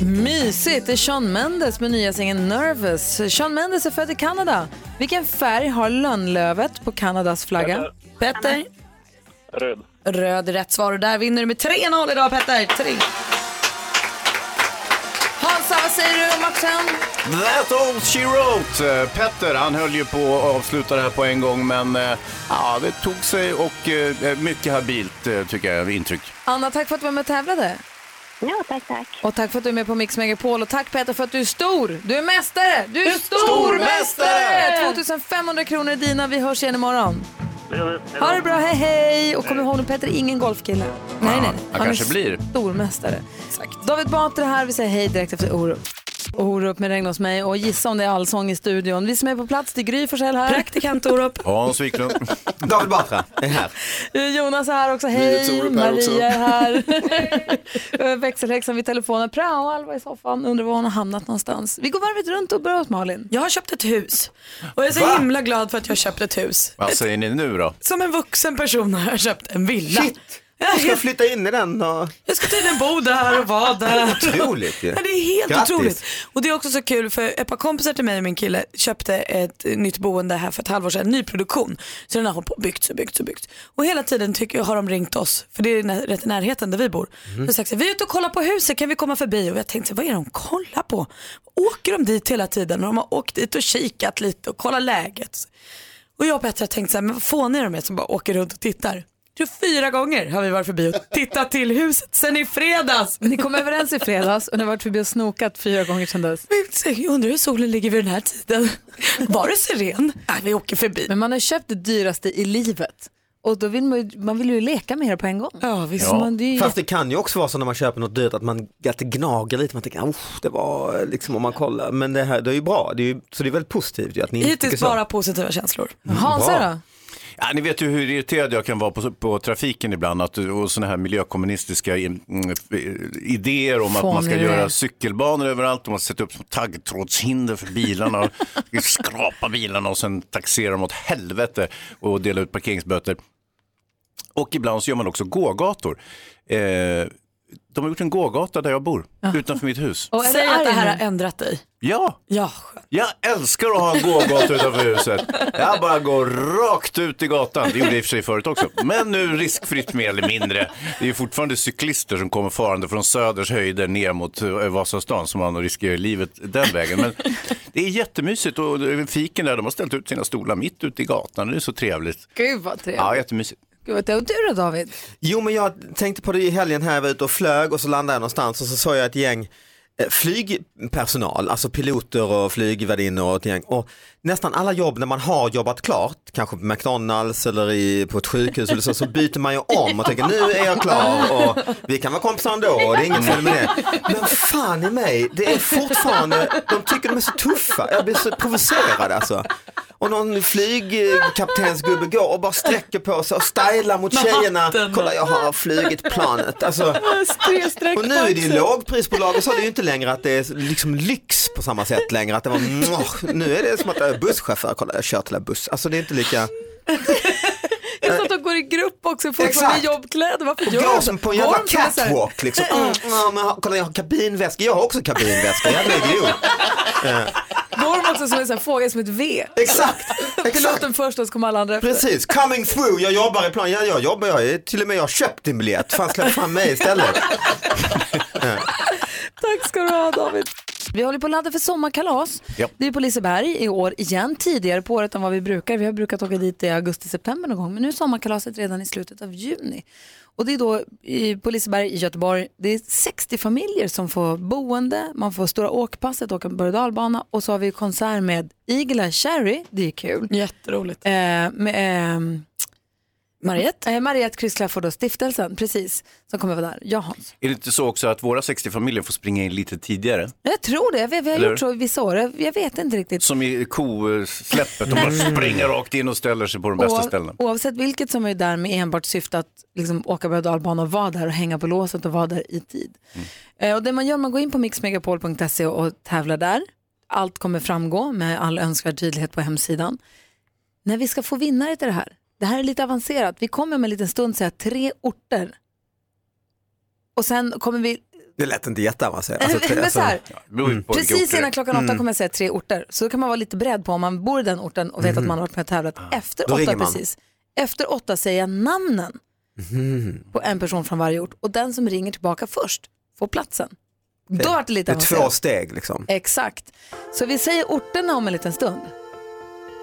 Speaker 2: Mysigt! Det är Shawn Mendes med nya singeln Nervous. Shawn Mendes är född i Kanada. Vilken färg har lönnlövet på Kanadas flagga?
Speaker 18: Petter?
Speaker 15: Röd.
Speaker 18: Röd är rätt svar och där vinner du med 3-0 idag Petter. 3.
Speaker 2: Hansa, vad säger du om matchen?
Speaker 7: That old she wrote. Eh, Petter, han höll ju på att avsluta det här på en gång, men eh, ja, det tog sig och eh, mycket habilt, eh, tycker jag, intryck.
Speaker 2: Anna, tack för att du var med och tävlade.
Speaker 6: Ja, tack, tack.
Speaker 2: Och tack för att du är med på Mix Megapol. Och tack Peter för att du är stor. Du är mästare! Du är stormästare!
Speaker 5: Stormästare!
Speaker 2: 2500 kronor är dina. Vi hörs igen imorgon.
Speaker 5: Det gör vi.
Speaker 2: Ha det bra, hej hej! Och kom ihåg nu Peter, är ingen golfkille. Nej, nej.
Speaker 5: han
Speaker 2: är
Speaker 5: kanske blir.
Speaker 2: Stormästare. David Batra här, vi säger hej direkt efter Orup. Orup med Regn hos mig och gissa om det är allsång i studion. Vi som är på plats, det är Gry Forssell här. Praktikant Orup.
Speaker 7: Hans Wiklund. David Batra är här.
Speaker 2: Jonas är här också, hej.
Speaker 7: Nyhets-Orup här också.
Speaker 2: Maria är här. Växelhäxan vid telefonen, praoal var i soffan, undrar var hon har hamnat någonstans. Vi går varvet runt och börjar hos Malin.
Speaker 3: Jag har köpt ett hus och jag är så
Speaker 7: Va?
Speaker 3: himla glad för att jag har köpt ett hus.
Speaker 7: Vad säger ni nu då?
Speaker 3: Som en vuxen person har jag köpt en villa.
Speaker 19: Jag ska flytta in i den och...
Speaker 3: Jag ska tydligen bo där och vara där.
Speaker 19: Otroligt ju.
Speaker 3: Ja, det är helt
Speaker 19: Grattis.
Speaker 3: otroligt. Och det är också så kul för ett par kompisar till mig och min kille köpte ett eh, nytt boende här för ett halvår sedan, nyproduktion. Så den har hållit på och byggts och byggts och byggts. Och hela tiden tycker jag, har de ringt oss, för det är nä- rätt i närheten där vi bor.
Speaker 5: Mm.
Speaker 3: Och sagt så här, vi är ute och kollar på huset, kan vi komma förbi? Och jag tänkte, så här, vad är det de kollar på? Åker de dit hela tiden? Och de har åkt dit och kikat lite och kollat läget. Och jag och Petra tänkte så här, men vad fåniga de är som bara åker runt och tittar. Du, fyra gånger har vi varit förbi och tittat till huset sen i fredags.
Speaker 2: Ni kom överens i fredags och ni har varit förbi och snokat fyra gånger sedan dess.
Speaker 3: Jag undrar hur solen ligger vid den här tiden. Var det siren? Nej, vi åker förbi.
Speaker 2: Men man har köpt det dyraste i livet och då vill man, ju- man vill ju leka med det på en gång.
Speaker 3: Ja,
Speaker 2: visst. Man, det är ju
Speaker 19: Fast det kan ju också vara så när man köper något dyrt att man att det gnager lite, man tänker "Oh, det var liksom om man kollar, men det här det är ju bra, det är ju, så det är väldigt positivt ju att ni inte tycker
Speaker 3: Hittills
Speaker 19: så.
Speaker 3: bara positiva känslor.
Speaker 2: Mm.
Speaker 7: Bra. Ja, ni vet ju hur irriterad jag kan vara på, på trafiken ibland att, och sådana här miljökommunistiska i- mm, f- idéer om att
Speaker 5: Fåniga.
Speaker 7: man ska göra cykelbanor överallt och man ska sätta upp små taggtrådshinder för bilarna och skrapa bilarna och sen taxera dem åt helvete och dela ut parkeringsböter. Och ibland så gör man också gågator. Eh, de har gjort en gågata där jag bor, utanför mitt hus.
Speaker 3: Och Säg att det här har ändrat dig.
Speaker 7: Ja,
Speaker 3: Ja.
Speaker 7: jag älskar att ha en gågata utanför huset. Jag bara går rakt ut i gatan. Det gjorde jag i och för sig förut också. Men nu riskfritt mer eller mindre. Det är ju fortfarande cyklister som kommer farande från Söders höjder ner mot eh, Vasastan som man riskerar livet den vägen. Men det är jättemysigt och fiken där, de har ställt ut sina stolar mitt ute i gatan. Det är så trevligt.
Speaker 2: gud vad trevligt.
Speaker 7: Ja, jättemysigt.
Speaker 2: Gud, vad trevligt. och du då David?
Speaker 19: Jo men jag tänkte på det i helgen här, jag var ute och flög och så landade jag någonstans och så såg jag ett gäng eh, flygpersonal, alltså piloter och flygvärdinnor och ett gäng. Och nästan alla jobb när man har jobbat klart, kanske på McDonalds eller i, på ett sjukhus eller så, så byter man ju om och tänker nu är jag klar och vi kan vara kompisar ändå, och det är inget fel med det. Men fan i mig, det är fortfarande, de tycker de är så tuffa, jag blir så provocerad alltså. Och någon flygkaptensgubbe går och bara sträcker på sig och stylar mot
Speaker 5: Med
Speaker 19: tjejerna.
Speaker 5: hatten.
Speaker 19: Kolla jag har flugit planet. Alltså,
Speaker 5: Trestreck
Speaker 19: och nu är det ju
Speaker 5: på axeln.
Speaker 19: lågprisbolag och så är det ju inte längre att det är liksom lyx på samma sätt längre. Att det var, "Mwah." nu är det som att jag är busschaufför, kolla jag kör till en buss. Alltså det är inte lika
Speaker 2: Jag sa att de går i grupp också, folk har med
Speaker 19: Exakt.
Speaker 2: jobbkläder. Varför
Speaker 19: Och
Speaker 2: gör
Speaker 19: jag
Speaker 2: de
Speaker 19: som
Speaker 2: det?
Speaker 19: på en
Speaker 2: Går
Speaker 19: jävla
Speaker 2: de med så här-
Speaker 19: catwalk liksom. Mm, ja, men, ha- kolla jag har kabinväska, jag har också kabinväska, jag är en idiot. Eh,
Speaker 2: Går de också som en sån här fågel, som ett V?
Speaker 19: Exakt!
Speaker 2: Piloten först och så kommer alla andra efter.
Speaker 19: Precis, coming through, jag jobbar i plan, ja jag jobbar, jag är, till och med jag har köpt en biljett, fan släpp fram mig istället.
Speaker 2: Tack ska du ha David. Vi håller på att ladda för sommarkalas.
Speaker 5: Ja.
Speaker 2: Det är på Liseberg i år igen, tidigare på året än vad vi brukar. Vi har brukat åka dit i augusti-september någon gång, men nu är sommarkalaset redan i slutet av juni. Och det är då i, på Liseberg i Göteborg, det är 60 familjer som får boende, man får stora åkpasset, åka berg och dalbana och så har vi konsert med Igla Cherry, det är kul.
Speaker 9: Jätteroligt.
Speaker 2: Eh, med, ehm, Mariette? Eh, Mariette Chris Clafford och stiftelsen, precis, som kommer vara där. Jag, Hans.
Speaker 7: Är det inte så också att våra 60 familjer får springa in lite tidigare?
Speaker 2: jag tror det, vi, vi har
Speaker 7: Eller?
Speaker 2: gjort så vissa år, jag, jag vet inte riktigt.
Speaker 7: Som i kosläppet, de bara
Speaker 2: Mm.
Speaker 7: springer rakt in och ställer sig på de bästa
Speaker 2: Oav-
Speaker 7: ställena.
Speaker 2: Oavsett vilket som är där med enbart syfte att liksom åka berg och dalbana och vara där och hänga på låset och vara där i tid.
Speaker 7: Mm.
Speaker 2: Eh, och det man gör, man går in på mixmegapol.se och tävlar där. Allt kommer framgå med all önskvärd tydlighet på hemsidan. När vi ska få vinnare till det här, det här är lite avancerat. Vi kommer med en liten stund säga tre orter. Och sen kommer vi
Speaker 19: Det lät inte alltså. jätteavancerat.
Speaker 2: Men så här,
Speaker 19: mm.
Speaker 2: Precis innan klockan åtta kommer jag säga tre orter. Så då kan man vara lite beredd på om man bor i den orten och vet att man har varit med och tävlat. Efter
Speaker 19: Mm. Ah. Då ringer
Speaker 2: åtta
Speaker 19: man.
Speaker 2: precis. Efter åtta säger jag namnen
Speaker 19: Mm.
Speaker 2: på en person från varje ort och den som ringer tillbaka först får platsen. Då vart det lite
Speaker 19: Det är två
Speaker 2: avancerat.
Speaker 19: steg liksom.
Speaker 2: Exakt. Så vi säger orterna om en liten stund.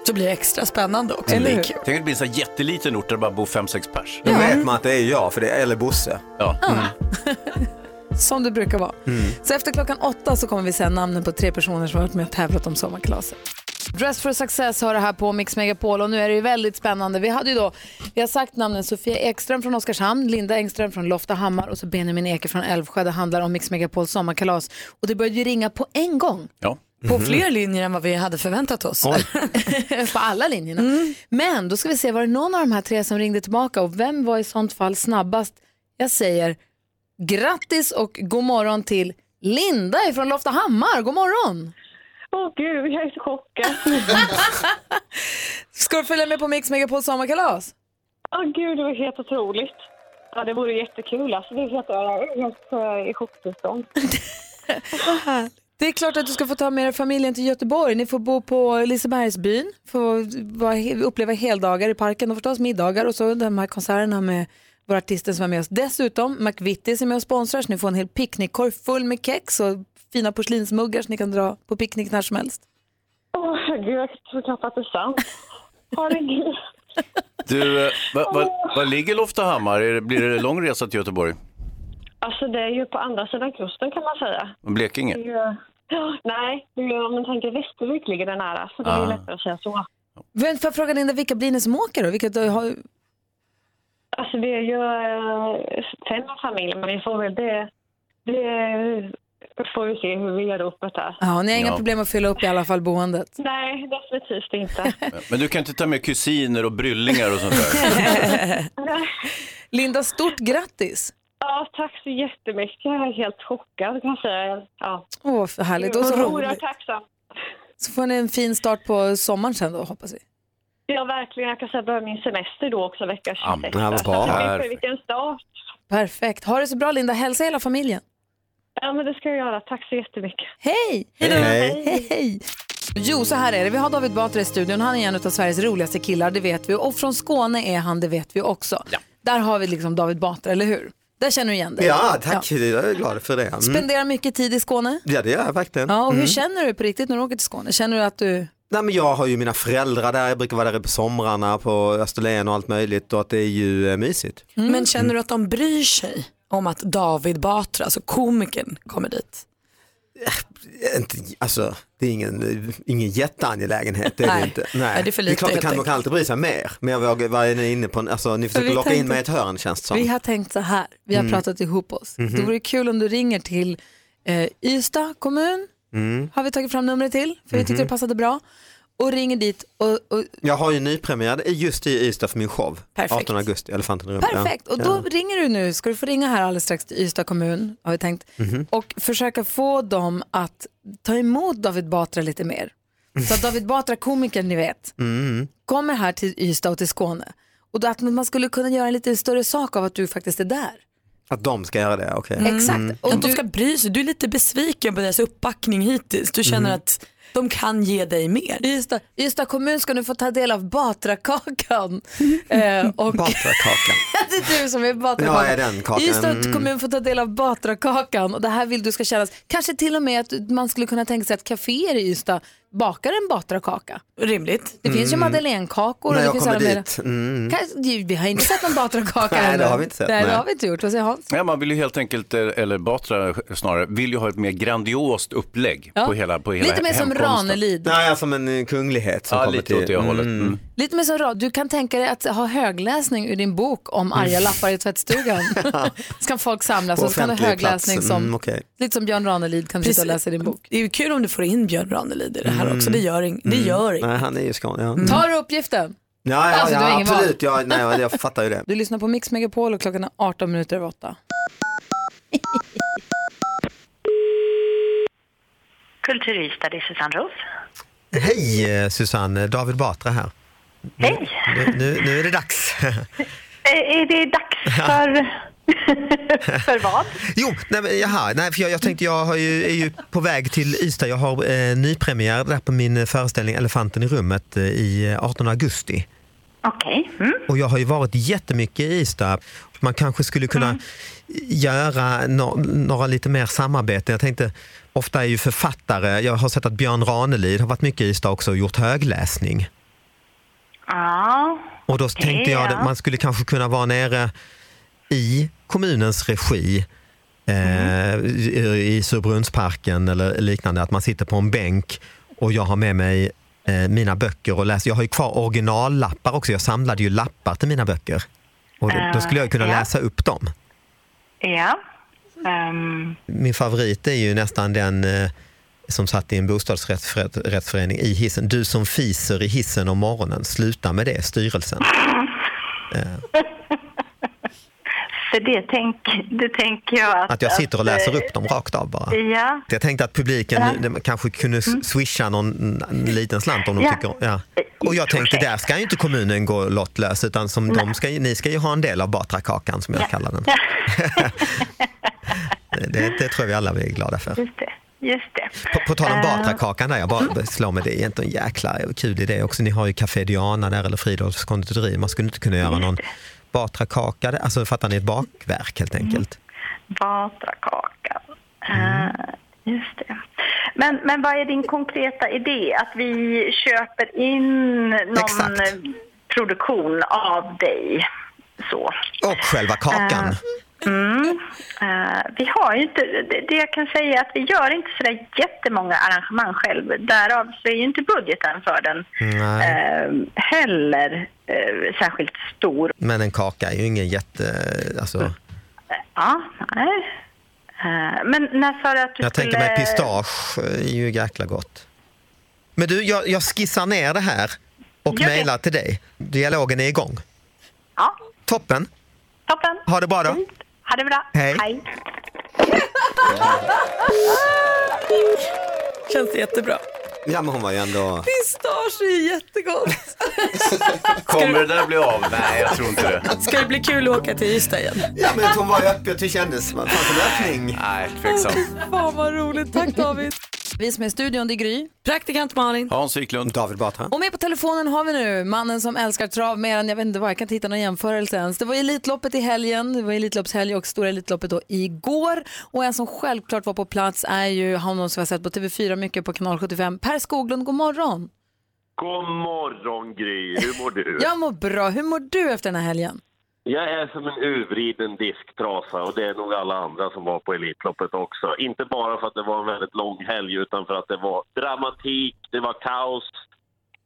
Speaker 9: Så blir det extra spännande också.
Speaker 2: Eller hur?
Speaker 7: Tänk att det blir en sån här jätteliten ort där det bara bor fem sex pers.
Speaker 19: Då vet man att det är jag, för det är, eller Bosse.
Speaker 7: Ja.
Speaker 2: Som det brukar vara. Så efter klockan åtta så kommer vi säga namnen på tre personer som har varit med och tävlat om sommarkalaset. Dress for success har det här på Mix Megapol och nu är det ju väldigt spännande. Vi hade ju då, vi har sagt namnen Sofia Ekström från Oskarshamn, Linda Engström från Loftahammar och så Benjamin Eke från Älvsjö. Det handlar om Mix Megapols sommarkalas och det började ju ringa på en gång.
Speaker 7: Ja.
Speaker 16: Mhm.
Speaker 9: På fler linjer än vad vi hade förväntat
Speaker 19: Mm-hmm.
Speaker 9: oss.
Speaker 2: på alla linjerna. Men då ska vi se, var det någon av de här tre som ringde tillbaka och vem var i sånt fall snabbast? Jag säger grattis och god morgon till Linda ifrån Loftahammar. God morgon!
Speaker 10: Åh gud, jag är så chockad.
Speaker 2: Ska du följa med på Mix Megapol sommarkalas?
Speaker 10: Åh gud, det var helt otroligt. Ja, det vore jättekul alltså. Det är helt, jag är i chocktillstånd.
Speaker 2: Det är klart att du ska få ta med er familjen till Göteborg. Ni får bo på Lisebergsbyn, få vara- uppleva heldagar i parken och förstås middagar och så de här konserterna med våra artister som är med oss. Dessutom McVittys är med och sponsrar så ni får en hel picknickkorg full med kex och fina porslinsmuggar så ni kan dra på picknick när som helst.
Speaker 10: Åh gud, jag tror knappt att det är sant. Herregud.
Speaker 7: Du, eh, va, va, var ligger Loftahammar? Är det- Blir det lång resa till Göteborg?
Speaker 10: Alltså det är ju på andra sidan kusten kan man säga.
Speaker 7: Blekinge?
Speaker 10: Det är ju- Ja, Nej, det är ju- om man tänker Västervik ligger det nära så det är ju
Speaker 7: Ah.
Speaker 10: lättare att säga så.
Speaker 2: Men får jag fråga Linda, vilka blir ni som åker då? Vilka, då har,
Speaker 10: Alltså det är ju eh, fem familjer men vi får väl det, det får vi se hur vi gör upp det här.
Speaker 2: ja, ni har inga
Speaker 7: Ja.
Speaker 2: problem att fylla upp i alla fall boendet.
Speaker 10: Nej, definitivt inte.
Speaker 7: Men du kan inte ta med kusiner och bryllingar och sånt där?
Speaker 2: Linda, stort grattis!
Speaker 10: Ja, tack så jättemycket. Jag är helt chockad kan jag säga. Ja.
Speaker 2: Åh, vad härligt. Och så,
Speaker 10: Jag är oerhört tacksam.
Speaker 2: så får ni en fin start på sommaren sen då, hoppas vi.
Speaker 10: Ja, verkligen. Jag kan säga börja min semester då också vecka 26.
Speaker 2: men vad
Speaker 10: Alltså,
Speaker 2: bra.
Speaker 10: det blir- Vilken start.
Speaker 2: Perfekt. Ha det så bra Linda. Hälsa hela familjen.
Speaker 10: Ja, men det ska jag göra. Tack så jättemycket.
Speaker 2: Hej!
Speaker 10: Hej då.
Speaker 2: Hej! Hej. Jo, så här är det. Vi har David Batra i studion. Han är en av Sveriges roligaste killar, det vet vi. Och från Skåne är han, det vet vi också. Där har vi liksom David Batra, eller hur? Där känner du igen dig.
Speaker 19: Ja, tack. Jag är glad för det. Mm.
Speaker 2: Spenderar mycket tid i Skåne.
Speaker 19: Ja, det gör jag verkligen.
Speaker 2: Ja, och hur
Speaker 19: Mm.
Speaker 2: känner du på riktigt när du åker till Skåne? Känner du att du...
Speaker 19: Nej, men jag har ju mina föräldrar där, jag brukar vara där på somrarna på Österlen och allt möjligt och att det är ju eh, mysigt.
Speaker 2: Mm.
Speaker 18: Men känner du att de bryr sig om att David Batra, alltså komikern, kommer dit?
Speaker 19: Inte, alltså, det är ingen, ingen jätteangelägenhet, det är
Speaker 18: Nej.
Speaker 19: det inte.
Speaker 18: Nej, det är för
Speaker 19: det är
Speaker 18: lite,
Speaker 19: klart, det
Speaker 18: helt
Speaker 19: kan, man kan alltid bry sig mer, men jag vågar vara inne på en, alltså, ni försöker
Speaker 2: vi
Speaker 19: locka in
Speaker 2: tänkte-
Speaker 19: mig i ett hörn känns det som.
Speaker 2: Vi har tänkt så här. Vi har
Speaker 19: Mm.
Speaker 2: pratat ihop oss.
Speaker 19: Mhm.
Speaker 2: Det vore kul om du ringer till eh, Ystad kommun,
Speaker 19: Mm.
Speaker 2: har vi tagit fram numret till, för vi tyckte
Speaker 19: Mhm.
Speaker 2: det passade bra. Och ringer dit och, och
Speaker 19: Jag har ju nypremiär just i Ystad för min show,
Speaker 2: Perfekt.
Speaker 19: 18 augusti, Elefanten i rummet. ja.
Speaker 2: Perfekt, och då ringer du nu, ska du få ringa här alldeles strax till Ystad kommun, har vi tänkt,
Speaker 19: Mhm.
Speaker 2: och försöka få dem att ta emot David Batra lite mer.
Speaker 19: Mm.
Speaker 2: Så att David Batra, komikern ni vet,
Speaker 19: Ja. Mm.
Speaker 2: kommer här till Ystad och till Skåne. Och då att man skulle kunna göra en lite större sak av att du faktiskt är där.
Speaker 19: Att de ska göra
Speaker 2: Mm.
Speaker 19: det, okej. Mm. Mm.
Speaker 18: Exakt. Att de ska bry sig. Du är lite besviken på deras uppbackning hittills. Du känner att De kan ge dig mer.
Speaker 2: Ystad, Ystad kommun ska nu få ta del av Batrakakan. eh, och
Speaker 19: Batrakakan.
Speaker 2: det är du som är Batrakakan.
Speaker 19: Ja, är den kakan.
Speaker 2: Ystad
Speaker 19: Mm.
Speaker 2: kommun får ta del av Batrakakan och det här vill du ska kännas. Kanske till och med att man skulle kunna tänka sig att kaféer i Ystad bakar en Batrakaka.
Speaker 18: Rimligt.
Speaker 2: Det finns ju
Speaker 19: Mm.
Speaker 2: madeleinekakor.
Speaker 19: När
Speaker 2: och det
Speaker 19: jag
Speaker 2: finns
Speaker 19: kommer
Speaker 2: alla möjliga-
Speaker 19: dit. Mm.
Speaker 2: Kanske, vi har inte sett någon Batrakaka
Speaker 7: Nej, det
Speaker 2: ännu.
Speaker 7: har vi inte sett,
Speaker 2: Nej, det
Speaker 7: nej.
Speaker 2: har vi inte gjort. Vad säger Hans?
Speaker 7: Nej, man vill ju helt enkelt, eh, eller Batra snarare, vill ju ha ett mer grandiost upplägg
Speaker 2: Ja.
Speaker 7: på hela, på hela
Speaker 2: Lite mer som
Speaker 7: hemkomsten.
Speaker 2: Ranelid.
Speaker 19: Nej, som en eh, kunglighet som
Speaker 7: Ja,
Speaker 19: kommer
Speaker 7: lite
Speaker 19: till. Mm.
Speaker 7: åt det hållet. Mm.
Speaker 2: Lite mer som rad. Du kan tänka dig att ha högläsning ur din bok om
Speaker 19: Mm.
Speaker 2: arga lappar i tvättstugan. så kan folk samlas och så kan du ha högläsning som,
Speaker 19: Mm, okej.
Speaker 2: lite som Björn Ranelid kan sitta och läsa din bok.
Speaker 18: Det är ju kul om du får in Björn Ranelid i det här
Speaker 19: Mm.
Speaker 18: också. Det gör, ing- det
Speaker 19: Mm.
Speaker 18: gör inget.
Speaker 19: Nej, han är ju skåning. Ja.
Speaker 2: Tar du uppgiften?
Speaker 19: Mm. Ja, ja,
Speaker 2: Alltså, du har
Speaker 19: ja
Speaker 2: ingen val.
Speaker 19: absolut. Ja, nej, ja, jag fattar ju det.
Speaker 2: Du lyssnar på Mix Megapol och klockan är 18 minuter över 8.
Speaker 20: Kulturista, det är Susanne Roos.
Speaker 19: Hej eh, Susanne, David Batra här.
Speaker 20: Hej!
Speaker 19: Nu, nu, nu är det dags.
Speaker 20: Eh, Är det dags för... för vad?
Speaker 19: Jo, nej, men, jaha, nej, för jag, jag tänkte jag har ju, är ju på väg till Ystad. Jag har eh, nypremiär där på min eh, föreställning Elefanten i rummet eh, i eh, 18 augusti.
Speaker 20: Okej.
Speaker 19: Och jag har ju varit jättemycket i Ystad. Man kanske skulle kunna
Speaker 20: Mm.
Speaker 19: göra no några lite mer samarbeten. Jag tänkte, ofta är ju författare, jag har sett att Björn Ranelid har varit mycket i Ystad också och gjort högläsning.
Speaker 20: Ja.
Speaker 19: Och då
Speaker 20: Okej,
Speaker 19: tänkte jag
Speaker 20: ja.
Speaker 19: att man skulle kanske kunna vara nere i kommunens regi eh, i- i Surbrunnsparken eller liknande, att man sitter på en bänk och jag har med mig eh, mina böcker och läser. Jag har ju kvar originallappar också, jag samlade ju lappar till mina böcker. Och då, då skulle jag ju kunna
Speaker 20: Eh, ja.
Speaker 19: läsa upp dem.
Speaker 20: Ja. Ehm,
Speaker 19: Min favorit är ju nästan den eh, som satt i en bostadsrättsförening i hissen. Du som fiser i hissen om morgonen, sluta med det, styrelsen. Eh,
Speaker 20: för det, tänk, det tänker jag att...
Speaker 19: Att jag sitter och
Speaker 20: att,
Speaker 19: läser
Speaker 20: eh,
Speaker 19: upp dem rakt av bara.
Speaker 20: Ja.
Speaker 19: Jag tänkte att publiken
Speaker 20: Ja. Mm.
Speaker 19: de kanske kunde s- swisha någon en liten slant om de
Speaker 20: Ja.
Speaker 19: tycker ja. Och jag tänkte, där ska ju inte kommunen gå lottlös utan som de ska, ju- ni ska ju ha en del av Batrakakan som jag kallar den. det, det tror jag vi alla blir glada för.
Speaker 20: Just det. Just det.
Speaker 19: På, på tal om
Speaker 20: Eh,
Speaker 19: Batrakakan där, jag bara slår mig, det är egentligen en jäkla kul idé också. Ni har ju Café Diana där eller Fridolfs konditori. Man skulle inte kunna göra någon Batrakaka, där? alltså fattar ni, ett bakverk
Speaker 20: Mm.
Speaker 19: helt enkelt.
Speaker 20: Batrakakan.
Speaker 19: Mm.
Speaker 20: Eh, just det. Men, men vad är din konkreta idé? Att vi köper in någon produktion av dig? Så.
Speaker 19: Och själva kakan.
Speaker 20: Eh, mm, eh, vi har ju inte, det, det jag kan säga är att vi gör inte så där jättemånga arrangemang själv. Därav så är ju inte budgeten för den
Speaker 19: Nej.
Speaker 20: eh, heller eh, särskilt stor.
Speaker 19: Men en kaka är ju ingen jätte... Alltså,
Speaker 20: Ja, nej. Eh, Men när sa du att du
Speaker 19: jag
Speaker 20: skulle...
Speaker 19: tänker mig pistage är ju jäkla gott. Men du, jag, jag skissar ner det här och
Speaker 20: Gör det.
Speaker 19: mejlar till dig. Dialogen är igång.
Speaker 20: Ja.
Speaker 19: Toppen.
Speaker 20: Toppen.
Speaker 19: Ha det bra då.
Speaker 20: Ha det bra.
Speaker 19: Hej.
Speaker 18: Känns det jättebra?
Speaker 19: Ja, men hon var ju ändå...
Speaker 18: Pistage är jättegott.
Speaker 7: Kommer det där bli av? Nej, jag tror inte det.
Speaker 18: Ska det bli kul att åka till Ystad igen?
Speaker 19: Ja, men hon var ju öppen, det kändes. Fanns en öppning?
Speaker 7: Nej, tveksam.
Speaker 2: Fan vad roligt, tack David. Vi som är i studion, det är Gry.
Speaker 18: Praktikant Malin.
Speaker 7: Hans Wiklund.
Speaker 19: David Batra.
Speaker 2: Och med på telefonen har vi nu mannen som älskar trav mer än jag vet inte vad, jag kan inte hitta någon jämförelse ens. Det var Elitloppet i helgen, det var Elitloppshelg och Stora Elitloppet då igår. Och en som självklart var på plats är ju honom som vi har sett på TV4 mycket på kanal 75, Per Skoglund, god morgon.
Speaker 21: God morgon Gry, hur mår du?
Speaker 2: Jag mår bra, hur mår du efter den här helgen?
Speaker 21: Jag är som en urvriden disktrasa och det är nog alla andra som var på Elitloppet också. Inte bara för att det var en väldigt lång helg utan för att det var dramatik, det var kaos,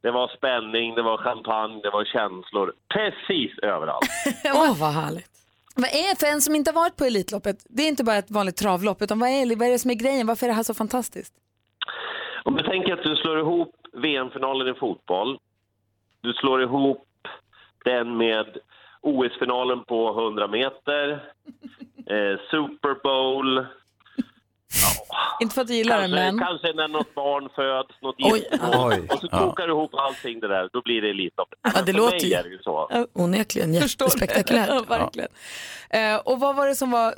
Speaker 21: det var spänning, det var champagne, det var känslor. Precis överallt.
Speaker 2: Åh vad härligt. Vad är för en som inte har varit på Elitloppet, det är inte bara ett vanligt travlopp, utan vad är, vad är det som är grejen, varför är det här så fantastiskt?
Speaker 21: Om du tänker att du slår ihop VM-finalen i fotboll, du slår ihop den med OS-finalen på 100 meter, eh, Super Bowl,
Speaker 2: Inte för att du gillar det,
Speaker 21: kanske,
Speaker 2: men...
Speaker 21: Alltså, kanske när något barn föds, något
Speaker 2: Oj.
Speaker 21: giftermål.
Speaker 2: Oj.
Speaker 21: Och så
Speaker 2: Ja.
Speaker 21: kokar du ihop allting det där, då blir det Elitloppet.
Speaker 18: Ja,
Speaker 21: Men
Speaker 18: det
Speaker 21: för
Speaker 18: låter
Speaker 21: mig
Speaker 18: ju-
Speaker 21: är det ju så.
Speaker 18: Onekligen
Speaker 2: Förstår du?
Speaker 18: jättespektakulärt.
Speaker 2: Ja, verkligen. Eh, och vad var det som var,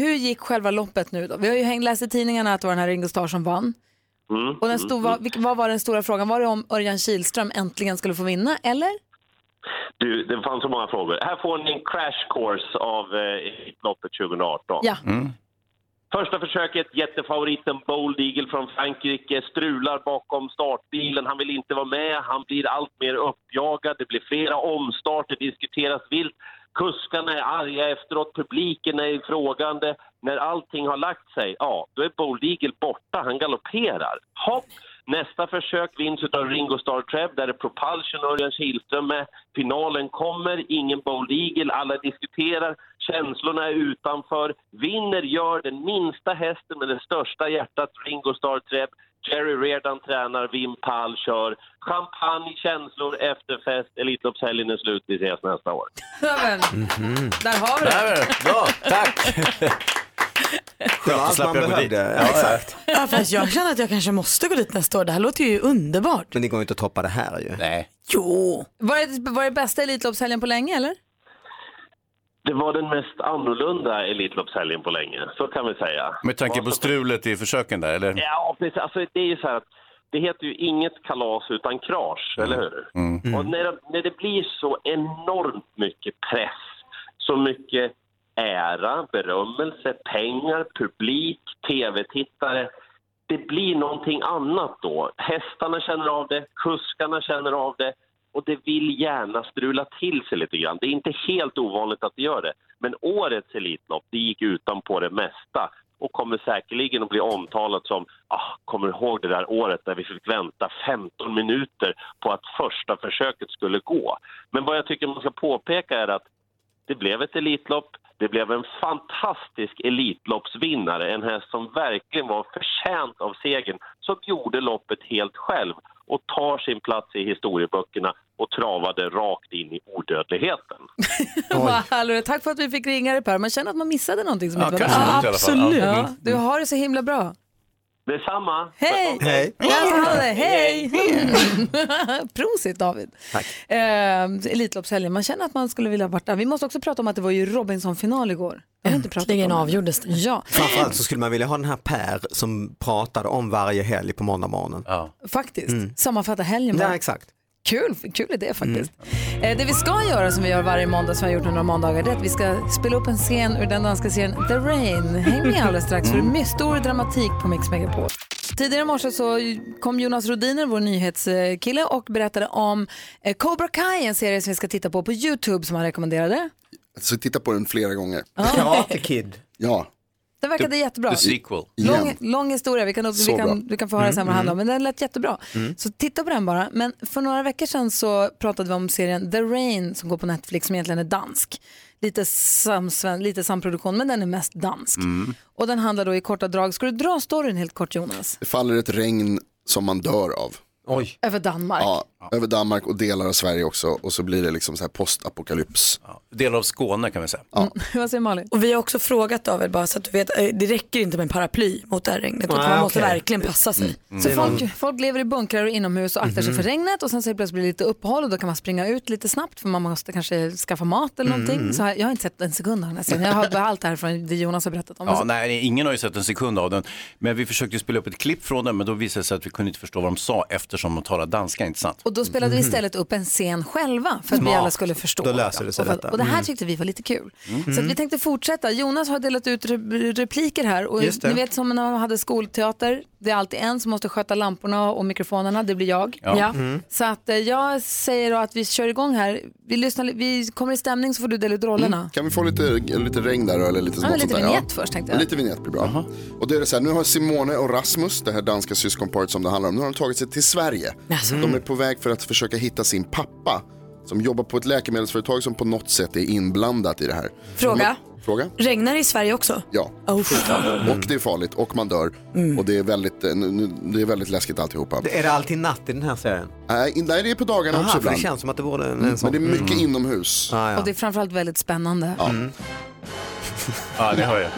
Speaker 2: hur gick själva loppet nu då? Vi har ju hängt, läst i tidningarna att det var den här Ringo Starr som vann.
Speaker 21: Mm,
Speaker 2: Och den stor,
Speaker 21: mm,
Speaker 2: vad,
Speaker 21: mm.
Speaker 2: vilk- vad var den stora frågan? Var det om Örjan Kihlström äntligen skulle få vinna, eller?
Speaker 21: Du, det fanns så många frågor. Här får ni en crash course av eh, Elitloppet 2018.
Speaker 2: Ja.
Speaker 18: Mm.
Speaker 21: Första försöket, jättefavoriten Bold Eagle från Frankrike strular bakom startbilen. Han vill inte vara med, han blir allt mer uppjagad. Det blir flera omstarter, diskuteras vilt. Kuskarna är arga efteråt, publiken är frågande. När allting har lagt sig, ja, då är Bold Eagle borta. Han galopperar. Hopp! Nästa försök vinns av Ringo Starr Trev, där är Propulsion och Örjan Kihlström med. Finalen kommer, ingen Bold Eagle, alla diskuterar, känslorna är utanför. Vinner gör den minsta hästen med det största hjärtat, Ringo Starr Trev. Jerry Redan tränar, Wim Pall kör. Champagne, känslor, efterfest, Elitloppshelgen är slut, vi ses nästa år.
Speaker 19: Mm-hmm.
Speaker 2: Där har vi
Speaker 21: Där
Speaker 2: det.
Speaker 21: är det. Bra,
Speaker 19: tack! Det var allt man behövde. Ja, exakt.
Speaker 18: Ja, fast jag känner att jag kanske måste gå dit nästa år. Det här låter ju underbart.
Speaker 19: Men det går ju inte att toppa det här ju.
Speaker 21: Nej.
Speaker 18: Jo.
Speaker 2: Var det, var det bästa Elitloppshelgen på länge, eller?
Speaker 21: Det var den mest annorlunda Elitloppshelgen på länge, så kan vi säga.
Speaker 7: Med tanke på strulet i försöken där, eller?
Speaker 21: Ja, precis. Alltså, det är ju så här att det heter ju inget kalas utan krasch, eller hur?
Speaker 7: Mm.
Speaker 21: Och när, när det blir så enormt mycket press, så mycket ära, berömmelse, pengar, publik, tv-tittare. Det blir någonting annat då. Hästarna känner av det, kuskarna känner av det och det vill gärna strula till sig lite grann. Det är inte helt ovanligt att det gör det. Men årets Elitlopp, det gick utan på det mesta och kommer säkerligen att bli omtalat som ah, kommer du ihåg det där året där vi fick vänta 15 minuter på att första försöket skulle gå. Men vad jag tycker man ska påpeka är att det blev ett Elitlopp. Det blev en fantastisk Elitloppsvinnare, en häst som verkligen var förtjänt av segern som gjorde loppet helt själv och tar sin plats i historieböckerna och travade rakt in i odödligheten.
Speaker 2: Vad härligt. Tack för att vi fick ringa dig Per. Man känner att man missade någonting som
Speaker 21: Ja,
Speaker 2: inte var
Speaker 21: kanske något i alla fall. Absolut. Ja.
Speaker 2: Ja, du har det så himla bra.
Speaker 21: Detsamma!
Speaker 2: Hej!
Speaker 21: Hej.
Speaker 2: Ja, ha det. Hej! Prosit David. Tack. Eh, Elitloppshelgen, man känner att man skulle vilja vara där. Vi måste också prata om att det var ju Robinson-final igår. Jag har inte pratat om det.
Speaker 18: avgjordes det.
Speaker 2: Ja.
Speaker 19: Framförallt så skulle man vilja ha den här Per som pratade om varje helg på måndag morgonen.
Speaker 2: Faktiskt.
Speaker 19: Mm.
Speaker 2: Sammanfatta helgen bara.
Speaker 19: Ja, exakt.
Speaker 2: Kul, kul idé faktiskt. Eh, det vi ska göra som vi gör varje måndag som vi har gjort nu några måndagar det är att vi ska spela upp en scen ur den danska serien The Rain. Häng med alldeles strax för det är mycket stor dramatik på Mix Megapol. Tidigare i morse så kom Jonas Rodiner, vår nyhetskille, och berättade om eh, Cobra Kai, en serie som vi ska titta på på YouTube som han rekommenderade.
Speaker 13: Så titta på den flera gånger.
Speaker 19: Karate Kid.
Speaker 13: Ja.
Speaker 2: Den verkade jättebra. Lång,
Speaker 13: Igen.
Speaker 2: lång historia, vi kan,
Speaker 13: Så
Speaker 2: vi
Speaker 13: bra.
Speaker 2: kan, du kan få höra sen vad det handlar om, men den lät jättebra.
Speaker 13: Mm.
Speaker 2: Så titta på den bara. Men för några veckor sedan så pratade vi om serien The Rain som går på Netflix som egentligen är dansk. Lite, samsven, lite samproduktion men den är mest dansk.
Speaker 13: Mm.
Speaker 2: Och den handlar då i korta drag, ska du dra storyn helt kort Jonas?
Speaker 13: Det faller ett regn som man dör av.
Speaker 19: Oj.
Speaker 2: Över Danmark.
Speaker 13: Ja, över Danmark och delar av Sverige också. Och så blir det liksom så här postapokalyps.
Speaker 7: Del av Skåne kan vi säga.
Speaker 2: Vad säger Malin?
Speaker 18: Och vi har också frågat David bara så att du vet, eh, det räcker inte med en paraply mot det här regnet utan
Speaker 13: Nej,
Speaker 18: man måste
Speaker 13: okej. Mm.
Speaker 18: verkligen passa sig.
Speaker 2: Mm. Så folk, folk lever i bunkrar och inomhus och aktar sig
Speaker 7: Mhm.
Speaker 2: för regnet och sen så är det plötsligt lite uppehåll och då kan man springa ut lite snabbt för man måste kanske skaffa mat eller någonting.
Speaker 7: Mm.
Speaker 2: Så här, jag har inte sett en sekund av den här serien. Jag har bara allt det här från det Jonas har berättat om.
Speaker 7: Ja, nej, ingen har ju sett en sekund av den. Men vi försökte spela upp ett klipp från den, men då visade det sig att vi kunde inte förstå vad de sa eftersom de talar danska, inte sant?
Speaker 2: Och då spelade vi istället upp en scen själva för att vi
Speaker 7: Mhm. Smart.
Speaker 2: alla skulle förstå.
Speaker 7: Då löser det sig
Speaker 2: och, för att-
Speaker 7: detta.
Speaker 2: och det här
Speaker 7: Mm.
Speaker 2: tyckte vi var lite kul.
Speaker 7: Mm.
Speaker 2: Så att vi tänkte fortsätta. Jonas har delat ut re- repliker här. Och
Speaker 7: Just det.
Speaker 2: ni vet som när man hade skolteater, det är alltid en som måste sköta lamporna och mikrofonerna, det blir jag.
Speaker 5: Ja. Mm.
Speaker 2: Så att eh, jag säger då att vi kör igång här. Vi, lyssnar, li- vi kommer i stämning så får du dela ut
Speaker 19: Mm.
Speaker 2: rollerna.
Speaker 13: Kan vi få lite, lite regn där eller lite
Speaker 2: Ja,
Speaker 13: något
Speaker 2: men lite
Speaker 13: sånt där?
Speaker 2: vignett först, tänkte jag.
Speaker 13: Lite vignett blir bra. Och då är det så här, nu har Simone och Rasmus, det här danska syskonparet som det handlar om, nu har de tagit sig till Sverige.
Speaker 18: Jaså.
Speaker 13: De är på väg för att försöka hitta sin pappa som jobbar på ett läkemedelsföretag som på något sätt är inblandat i det här.
Speaker 18: Fråga,
Speaker 13: De- Fråga?
Speaker 18: regnar det i Sverige också?
Speaker 13: Ja.
Speaker 2: Oh.
Speaker 13: Och det är farligt och man dör.
Speaker 2: Mm.
Speaker 13: Och det är, väldigt, eh, nu- nu- det är väldigt läskigt alltihopa.
Speaker 19: Är det alltid natt i den här serien?
Speaker 13: Nej, in- nej, det är på dagarna
Speaker 19: Aha,
Speaker 13: också
Speaker 19: för
Speaker 13: ibland.
Speaker 19: det känns som att det vore en,
Speaker 13: Mm,
Speaker 19: en sån. Ah,
Speaker 13: Men det är mycket inomhus.
Speaker 2: Och det är framförallt väldigt spännande.
Speaker 13: Ja.
Speaker 7: Ja, det hör jag.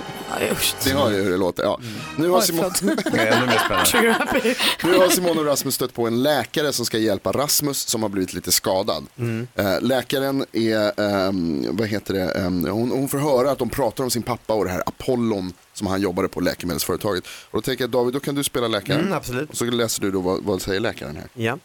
Speaker 13: Ni hör ju hur det låter. Ja. Nu, har
Speaker 5: Oj,
Speaker 13: Simon...
Speaker 5: förlåt. Nej, ännu mer spännande. Trigger happy.
Speaker 13: nu har Simon och Rasmus stött på en läkare som ska hjälpa Rasmus som har blivit lite skadad.
Speaker 19: Mm.
Speaker 13: Eh, Läkaren är, ehm, vad heter det, ehm, hon, hon får höra att de pratar om sin pappa och det här Apollon som han jobbade på läkemedelsföretaget. Och då tänker jag David, då kan du spela läkaren.
Speaker 19: Mm, absolut.
Speaker 13: Och så läser du då vad, vad säger läkaren här.
Speaker 19: Ja.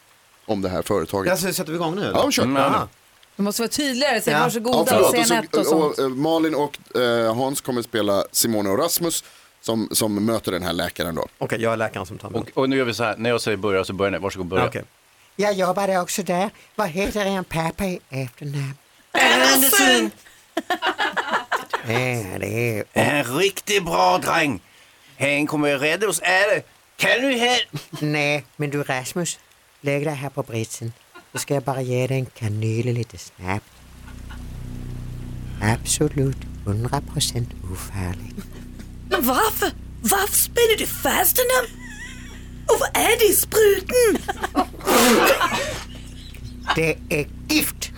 Speaker 13: Om det här företaget.
Speaker 19: Alltså, sätter vi igång nu?
Speaker 13: Ja, kör.
Speaker 19: Mm, ja.
Speaker 2: Du måste vara tydligare, säg
Speaker 13: Ja.
Speaker 2: varsågoda
Speaker 13: Ja,
Speaker 2: och
Speaker 13: förlåt.
Speaker 2: säg
Speaker 13: så-
Speaker 2: nett och sånt.
Speaker 13: och, eh, Malin och eh, Hans kommer spela Simone och Rasmus som, som möter den här läkaren då. Okej,
Speaker 19: jag är läkaren som tar
Speaker 13: och,
Speaker 7: och nu gör vi så här, när jag säger börja så börjar ni. Varsågod börja.
Speaker 22: Jag jobbade också där. Vad heter en pappa i efternamn?
Speaker 5: Andersson!
Speaker 23: En riktigt bra dräng. Han kommer rädda oss alla. Kan du hjälpa?
Speaker 22: Nej, men du Rasmus, lägg dig här på britsen. Då ska jag bara ge dig en kanyle lite snabbt. Absolut 100% ofarlig.
Speaker 24: Men varför? Varför spänner du fast honom? Och vad är det i spruten?
Speaker 22: Det är gift!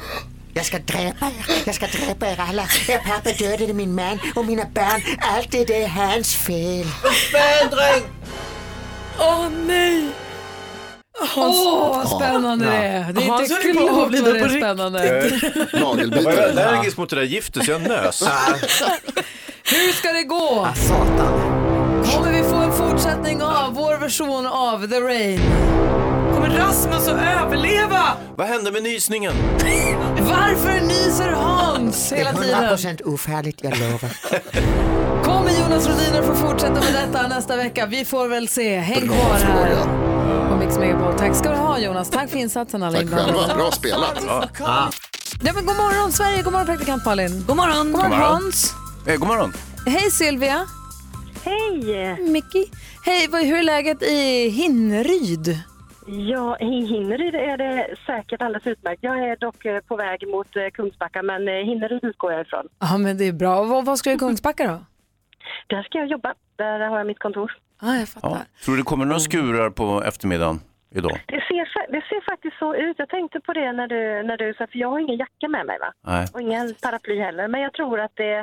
Speaker 22: Jag ska dräpa er, jag ska dräpa er alla. Er pappa dödade min man och mina barn. Allt det där är hans fel.
Speaker 24: Fan dräng! Åh nej!
Speaker 2: Åh, vad spännande det är. Det är
Speaker 5: Hans
Speaker 2: inte klokt
Speaker 5: håller på att
Speaker 2: vad
Speaker 5: avlida
Speaker 2: det
Speaker 5: på
Speaker 2: är
Speaker 5: riktigt.
Speaker 2: spännande.
Speaker 7: Jag var allergisk mot det där giftet så jag nös.
Speaker 22: Ah.
Speaker 2: Hur ska det gå? Kommer vi få en fortsättning av vår version av The Rain? Kommer Rasmus att överleva?
Speaker 7: Vad hände med nysningen?
Speaker 2: Varför nyser Hans
Speaker 22: Det är
Speaker 2: hela tiden?
Speaker 22: 100% ofarligt, jag lovar.
Speaker 2: Kommer Jonas Rhodiner få fortsätta med detta nästa vecka? Vi får väl se. Häng kvar här på Mix Megapol. Tack ska du ha Jonas. Tack för insatsen alla
Speaker 13: Tack själva, bra spelat.
Speaker 2: Ja, men god morgon Sverige, god morgon praktikant Malin. God morgon. God morgon Hans.
Speaker 7: Eh, god morgon.
Speaker 2: Hej Silvia. Hej. Mickey. Hej, vad, hur är läget i Hinneryd?
Speaker 25: Ja, i Hinneryd är det säkert alldeles utmärkt. Jag är dock eh, på väg mot eh, Kungsbacka, men eh, Hinneryd utgår jag ifrån.
Speaker 2: Ja, men det är bra. Vad, vad ska du i Kungsbacka då?
Speaker 25: Där ska jag jobba. Där har jag mitt kontor.
Speaker 2: Ah, jag fattar.
Speaker 7: Ja. Tror du det kommer några skurar på eftermiddagen idag?
Speaker 25: Det ser, fa- det ser faktiskt så ut. Jag tänkte på det när du, när du sa, för jag har ingen jacka med mig va?
Speaker 7: Nej.
Speaker 25: Och ingen paraply heller, men jag tror att det,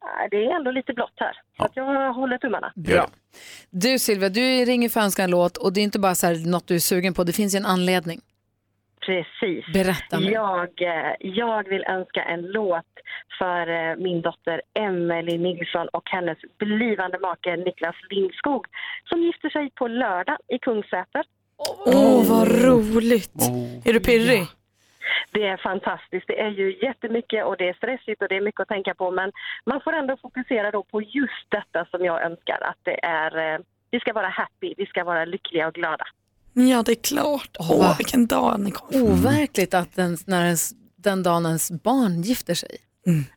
Speaker 25: ah, det är ändå lite blått här. Så att jag håller tummarna.
Speaker 2: Bra. Du Silvia, du ringer för att önska en låt och det är inte bara så här något du är sugen på, det finns ju en anledning.
Speaker 25: Precis.
Speaker 2: Berätta nu.
Speaker 25: Jag, eh, jag vill önska en låt för eh, min dotter Emelie Nilsson och hennes blivande make Niklas Lindskog som gifter sig på lördag i Kungsäter.
Speaker 24: Åh, vad roligt.
Speaker 13: Oh.
Speaker 24: Är du pirrig?
Speaker 25: Det är fantastiskt. Det är ju jättemycket och det är stressigt och det är mycket att tänka på men man får ändå fokusera då på just detta som jag önskar att det är eh, vi ska vara happy, vi ska vara lyckliga och glada.
Speaker 18: Ja, det är klart. Åh,
Speaker 2: vad
Speaker 18: vilken dag ni kom.
Speaker 2: Overkligt att den, när ens, den dagen ens barn gifter sig.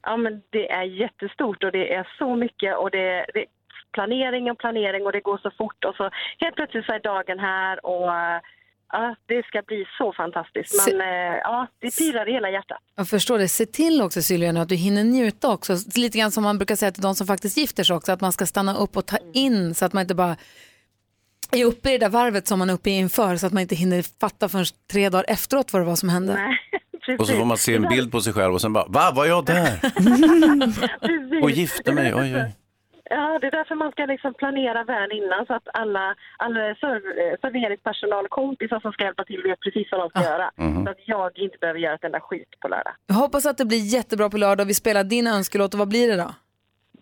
Speaker 25: Ja, men det är jättestort och det är så mycket och det, det planering och planering och det går så fort och så helt plötsligt så är dagen här och eh, ja, det ska bli så fantastiskt. Men eh, ja, det pirrar i hela hjärtat.
Speaker 2: Jag förstår det. Se till också Sylvia nu att du hinner njuta också. Lite grann som man brukar säga till de som faktiskt gifter sig också, att man ska stanna upp och ta
Speaker 25: Mm.
Speaker 2: in så att man inte bara är uppe i det där varvet som man är uppe i inför så att man inte hinner fatta förrän tre dagar efteråt vad det var som hände.
Speaker 7: Och så får man se en bild på sig själv och sen bara, va, var jag där?
Speaker 25: Precis.
Speaker 7: Och gifte mig, oj, oj.
Speaker 25: Ja, det är därför man ska liksom planera väl innan så att alla, alla serv- eh, serveringspersonal och kompisar som ska hjälpa till vet precis vad de
Speaker 2: Ah.
Speaker 25: ska göra. Så att jag inte behöver göra ett enda skit på lördag.
Speaker 2: Jag hoppas att det blir jättebra på lördag. Vi spelar din önskelåt och vad blir det då?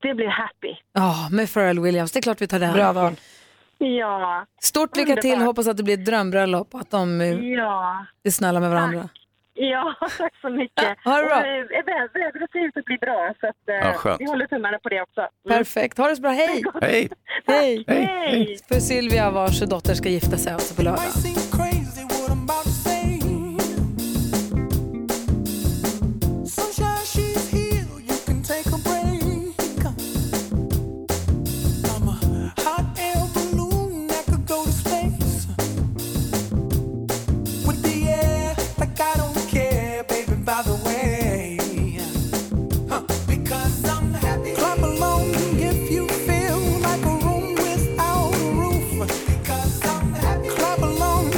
Speaker 25: Det blir happy.
Speaker 2: Ja, med Pharrell Williams. Det är klart vi tar den.
Speaker 25: Bra
Speaker 2: val.
Speaker 25: Ja.
Speaker 2: Stort lycka till.
Speaker 25: Underbart.
Speaker 2: Hoppas att det blir ett drömbröllop. Att de eh,
Speaker 25: Ja.
Speaker 2: är snälla med varandra.
Speaker 25: Ja, tack så mycket.
Speaker 2: ha det bra.
Speaker 25: Och, eh, vä- Vädret ser ut att bli bra, så att, eh,
Speaker 2: Ja, skönt.
Speaker 25: vi håller tummarna på det också. Mm.
Speaker 2: Perfekt. Ha det så bra. Hej!
Speaker 7: Hej!
Speaker 2: Hej!
Speaker 25: Hej.
Speaker 2: För Sylvia vars dotter ska gifta sig alltså på lördag.
Speaker 5: Sunshine, she's here. You can take a break. I'm a hot air balloon that could go to space. With the air, like I don't care, baby, by the way. Huh, Because I'm happy. Clap along if you feel like a room without a roof. Because I'm happy. Clap along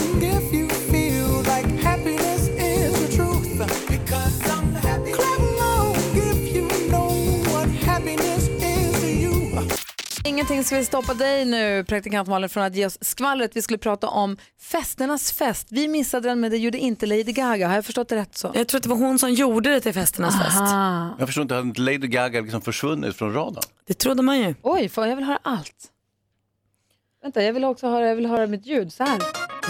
Speaker 2: ska vi stoppa dig nu, praktikant Malin, från att ge oss skvallret. Vi skulle prata om festernas fest. Vi missade den, men det gjorde inte Lady Gaga. Har jag förstått det rätt så?
Speaker 3: Jag tror att det var hon som gjorde det till festernas
Speaker 2: Aha.
Speaker 7: Jag förstår inte, hade inte Lady Gaga liksom försvunnit från radarn?
Speaker 3: Det trodde man ju.
Speaker 2: Oj, fan, jag vill höra allt. Vänta, jag vill också höra, jag vill höra mitt ljud. Så här.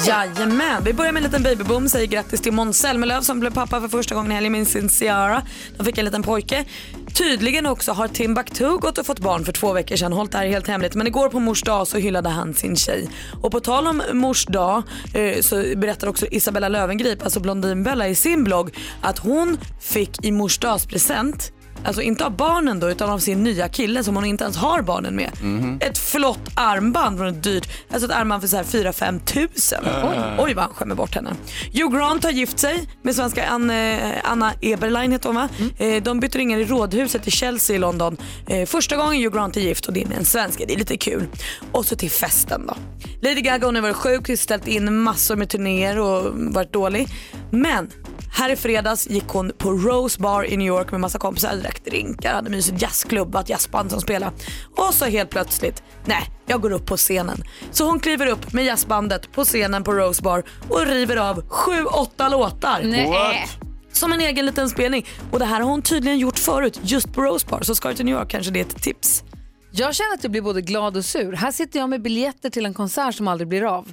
Speaker 3: Jajamän, vi börjar med en liten babyboom. Säger grattis till Måns Zelmerlöw som blev pappa för första gången i helgen med sin Ciara. De fick en liten pojke. Tydligen också har Timbuktu gått och fått barn för två veckor sedan. Hållt det här helt hemligt. Men igår på mors dag så hyllade han sin tjej. Och på tal om mors dag eh, så berättar också Isabella Löwengrip, alltså Blondinbella i sin blogg att hon fick i mors dagspresent Alltså inte av barnen då utan av sin nya kille som hon inte ens har barnen med.
Speaker 5: Mhm.
Speaker 3: Ett flott armband från ett dyrt, alltså ett armband för så här 4-5 tusen.
Speaker 11: Ah.
Speaker 5: Äh.
Speaker 3: Oj, oj vad han skämmer bort henne. Hugh Grant har gift sig med svenska Ann, eh, Anna Eberlein heter hon va? Eh, de byter ringar i rådhuset i Chelsea i London. Eh, första gången Hugh Grant är gift och det är med en svensk. Det är lite kul. Och så till festen då. Lady Gaga hon har varit sjuk, ställt in massor med turnéer och varit dålig. Men här i fredags gick hon på Rose Bar i New York med massa kompisar, drack drinkar, hade mysigt jazzklubb, ett jazzband som spelade. Och så helt plötsligt, nej, jag går upp på scenen. Så hon kliver upp med jazzbandet på scenen på Rose Bar och river av sju, åtta låtar.
Speaker 5: Nej. What?
Speaker 3: Som en egen liten spelning. Och det här har hon tydligen gjort förut, just på Rose Bar. Så ska du till New York kanske det är ett tips.
Speaker 2: Jag känner att jag blir både glad och sur. Här sitter jag med biljetter till en konsert som aldrig blir av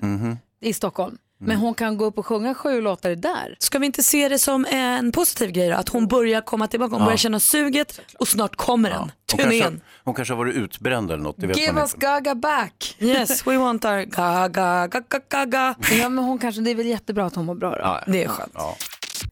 Speaker 2: i Stockholm. Men hon kan gå upp och sjunga sju låtar där.
Speaker 3: Ska vi inte se det som en positiv grej då? Att hon börjar komma tillbaka, hon
Speaker 7: Ja.
Speaker 3: börjar känna suget och snart kommer den.
Speaker 7: Hon kanske,
Speaker 3: Turnén.
Speaker 7: hon kanske har varit utbränd eller något, det vet
Speaker 2: Give
Speaker 7: man
Speaker 2: us
Speaker 7: inte.
Speaker 2: Gaga back!
Speaker 3: Yes, we want our Gaga, Gaga, Gaga.
Speaker 2: Ja, men hon kanske, det är väl jättebra att hon mår bra då.
Speaker 3: Det är skönt.